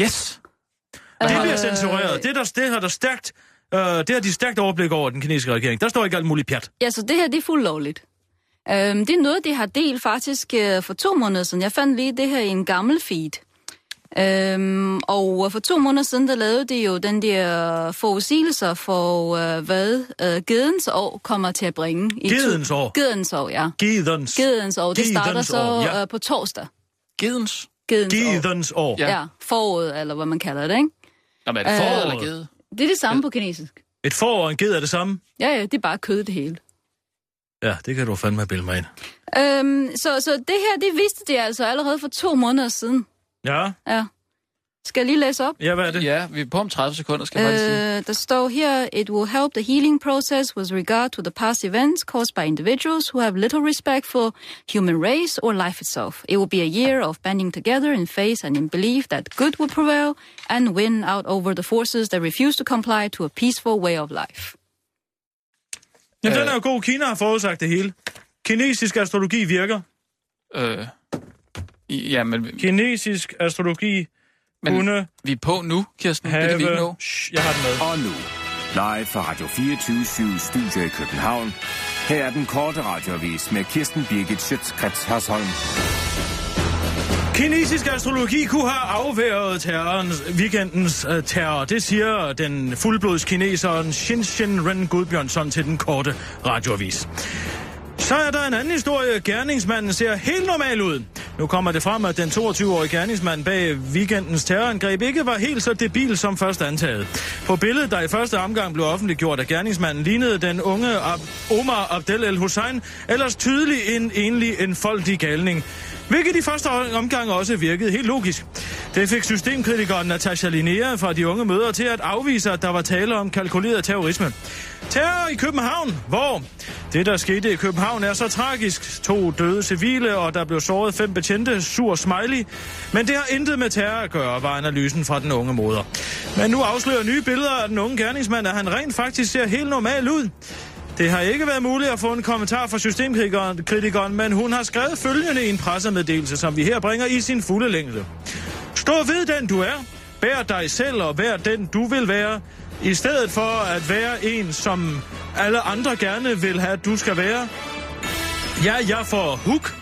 Speaker 4: yes!
Speaker 5: Det
Speaker 11: Øh,
Speaker 5: bliver censureret. Det, der, det har der stærkt, øh, det har de stærkt overblik over den kinesiske regering. Der står ikke alt muligt pjat.
Speaker 11: Ja, så det her, det er fuldt lovligt. Øhm, det er noget, det har delt faktisk øh, for to måneder siden. Jeg fandt lige det her i en gammel feed. Øhm, og øh, for to måneder siden, der lavede det jo den der øh, forudsigelser for, øh, hvad øh, gedens år kommer til at bringe. i to-
Speaker 5: Gedens år?
Speaker 11: Gedens år, ja.
Speaker 5: Gidens.
Speaker 11: Gedens år. Det starter
Speaker 5: Gedens
Speaker 11: så
Speaker 5: år, ja.
Speaker 11: øh, på torsdag.
Speaker 4: Gedens.
Speaker 11: Gedens år.
Speaker 5: Gidens år.
Speaker 4: Ja.
Speaker 11: Ja. ja, foråret, eller hvad man kalder det, ikke?
Speaker 4: Nå, men er det
Speaker 11: Øh,
Speaker 4: foråret eller gede?
Speaker 11: Det er det samme på kinesisk.
Speaker 5: Et forår og en ged er det samme.
Speaker 11: Ja, ja, det er bare kød det hele.
Speaker 5: Ja, det kan du fandme bilde mig ind.
Speaker 11: Øhm, så, så det her, det vidste det altså allerede for to måneder siden.
Speaker 5: Ja,
Speaker 11: Ja. Skal jeg lige læse op?
Speaker 5: ja hvad er det?
Speaker 4: Ja, vi er på om 30 sekunder, skal jeg faktisk sige.
Speaker 11: Uh, der står her, it will help the healing process with regard to the past events caused by individuals who have little respect for human race or life itself. It will be a year of banding together in faith and in belief that good will prevail and win out over the forces that refuse to comply to a peaceful way of life.
Speaker 5: Jamen,
Speaker 4: Øh.
Speaker 5: den er jo god. Kina har forudsagt det hele. Kinesisk astrologi virker.
Speaker 4: Øh, i- ja, men, vi-
Speaker 5: Kinesisk astrologi
Speaker 4: Men-
Speaker 5: men... kunne
Speaker 4: vi er på nu, Kirsten. Det kan
Speaker 5: have...
Speaker 4: vi ikke nå.
Speaker 5: Shh, jeg har den med.
Speaker 6: Og nu, live fra Radio 24 Studio i København. Her er den korte radiovis med Kirsten Birgit Schøtzgrads Hasholm.
Speaker 5: Kinesisk astrologi kunne have afværet terrorens, weekendens øh, terror. Det siger den fuldblods kineseren Shinshin Ren Gudbjørnsson til den korte radioavis. Så er der en anden historie. Gerningsmanden ser helt normal ud. Nu kommer det frem, at den 22-årige gerningsmand bag weekendens terrorangreb ikke var helt så debil som først antaget. På billedet, der i første omgang blev offentliggjort af gerningsmanden, lignede den unge Ab- Omar Abdel El Hussein ellers tydelig en enlig enfoldig galning. Hvilket i første omgang også virkede helt logisk. Det fik systemkritikeren Natasha Linnea fra de unge møder til at afvise, at der var tale om kalkuleret terrorisme. Terror i København, hvor det, der skete i København, er så tragisk. To døde civile, og der blev såret fem betjente, sur smiley. Men det har intet med terror at gøre, var analysen fra den unge moder. Men nu afslører nye billeder af den unge gerningsmand, at han rent faktisk ser helt normal ud. Det har ikke været muligt at få en kommentar fra systemkritikeren, kritikeren, men hun har skrevet følgende i en pressemeddelelse, som vi her bringer i sin fulde længde. Stå ved den du er. Vær dig selv og vær den du vil være. I stedet for at være en, som alle andre gerne vil have, at du skal være. Ja, jeg får huk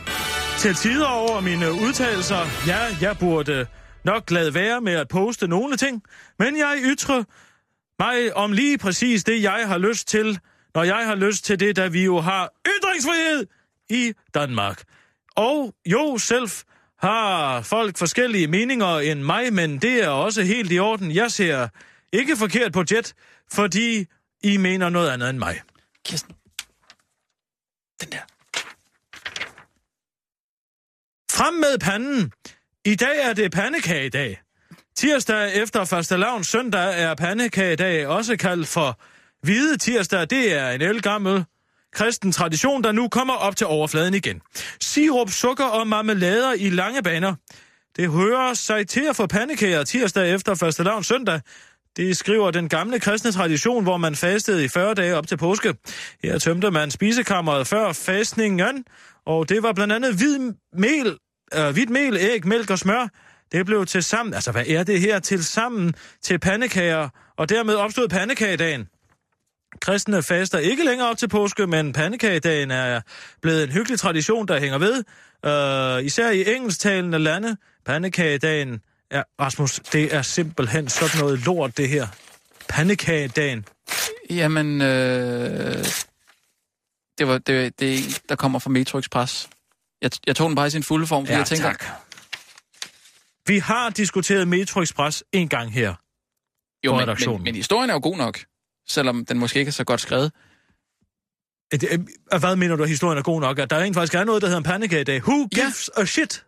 Speaker 5: til tider over mine udtalelser. Ja, jeg burde nok lade være med at poste nogle ting, men jeg ytrer mig om lige præcis det, jeg har lyst til, når jeg har lyst til det, da vi jo har ytringsfrihed i Danmark. Og jo, selv har folk forskellige meninger end mig, men det er også helt i orden. Jeg ser ikke forkert på Jet, fordi I mener noget andet end mig.
Speaker 4: Kirsten. Den der.
Speaker 5: Frem med panden! I dag er det pandekagedag. Tirsdag efter fastelavn søndag er pandekagedag også kaldt for hvide tirsdag. Det er en elgammel kristen tradition, der nu kommer op til overfladen igen. Sirup, sukker og marmelader i lange baner. Det hører sig til at få pandekager tirsdag efter fastelavn søndag. Det skriver den gamle kristne tradition, hvor man fastede i 40 dage op til påske. Her tømte man spisekammeret før fastningen, og det var blandt andet hvid mel, øh, hvidt mel, æg, mælk og smør. Det blev til sammen, altså hvad er det her, til sammen til pandekager, og dermed opstod pandekagedagen. Kristne faster ikke længere op til påske, men pandekagedagen er blevet en hyggelig tradition, der hænger ved. Øh, især i engelsktalende lande. Pandekagedagen er... Rasmus, det er simpelthen sådan noget lort, det her. Pandekagedagen.
Speaker 4: Jamen, øh, det, var, det, det er en, der kommer fra Metro Express. Jeg, jeg tog den bare i sin fulde form, fordi jeg tænker...
Speaker 5: Vi har diskuteret Metro Express en gang her.
Speaker 4: Jo,
Speaker 5: på
Speaker 4: men, men,
Speaker 5: redaktionen.
Speaker 4: men historien er jo god nok, selvom den måske ikke er så godt skrevet.
Speaker 5: Et, øh, øh, Hvad mener du, at historien er god nok? At der rent faktisk er noget, der hedder en pandekage i dag. Who gives a shit?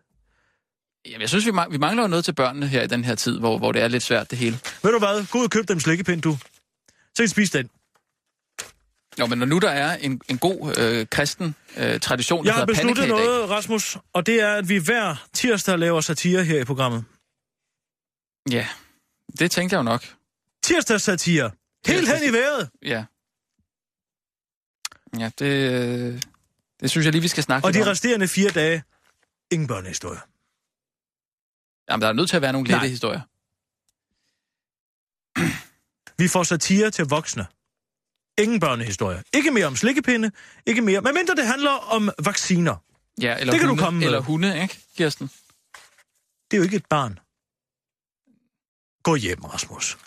Speaker 4: Jamen, jeg synes, vi, mang- vi mangler jo noget til børnene her i den her tid, hvor, hvor det er lidt svært det hele.
Speaker 5: Ved du hvad? Gå ud og køb dem slikkepind, du. Så spis den.
Speaker 4: Nå, men når nu der er en, en god øh, kristen øh, tradition, der
Speaker 5: Jeg har
Speaker 4: hedder
Speaker 5: besluttet
Speaker 4: pandekage i dag.
Speaker 5: noget, Rasmus, og det er, at vi hver tirsdag laver satire her i programmet.
Speaker 4: Ja, det tænkte jeg jo nok.
Speaker 5: Tirsdags satire. Helt hen i vejret.
Speaker 4: Ja. Ja, det, øh, det synes jeg lige, vi skal snakke
Speaker 5: Og
Speaker 4: lidt
Speaker 5: de
Speaker 4: om.
Speaker 5: resterende fire dage, ingen børnehistorie.
Speaker 4: Jamen, der er nødt til at være nogle
Speaker 5: Nej.
Speaker 4: lette historier.
Speaker 5: Vi får satire til voksne. Ingen børnehistorie. Ikke mere om slikkepinde, ikke mere. Men mindre det handler om vacciner.
Speaker 4: Ja, eller
Speaker 5: Det kan du
Speaker 4: hunde,
Speaker 5: komme med.
Speaker 4: Eller hunde, ikke, Kirsten?
Speaker 5: Det er jo ikke et barn. Gå hjem, Rasmus.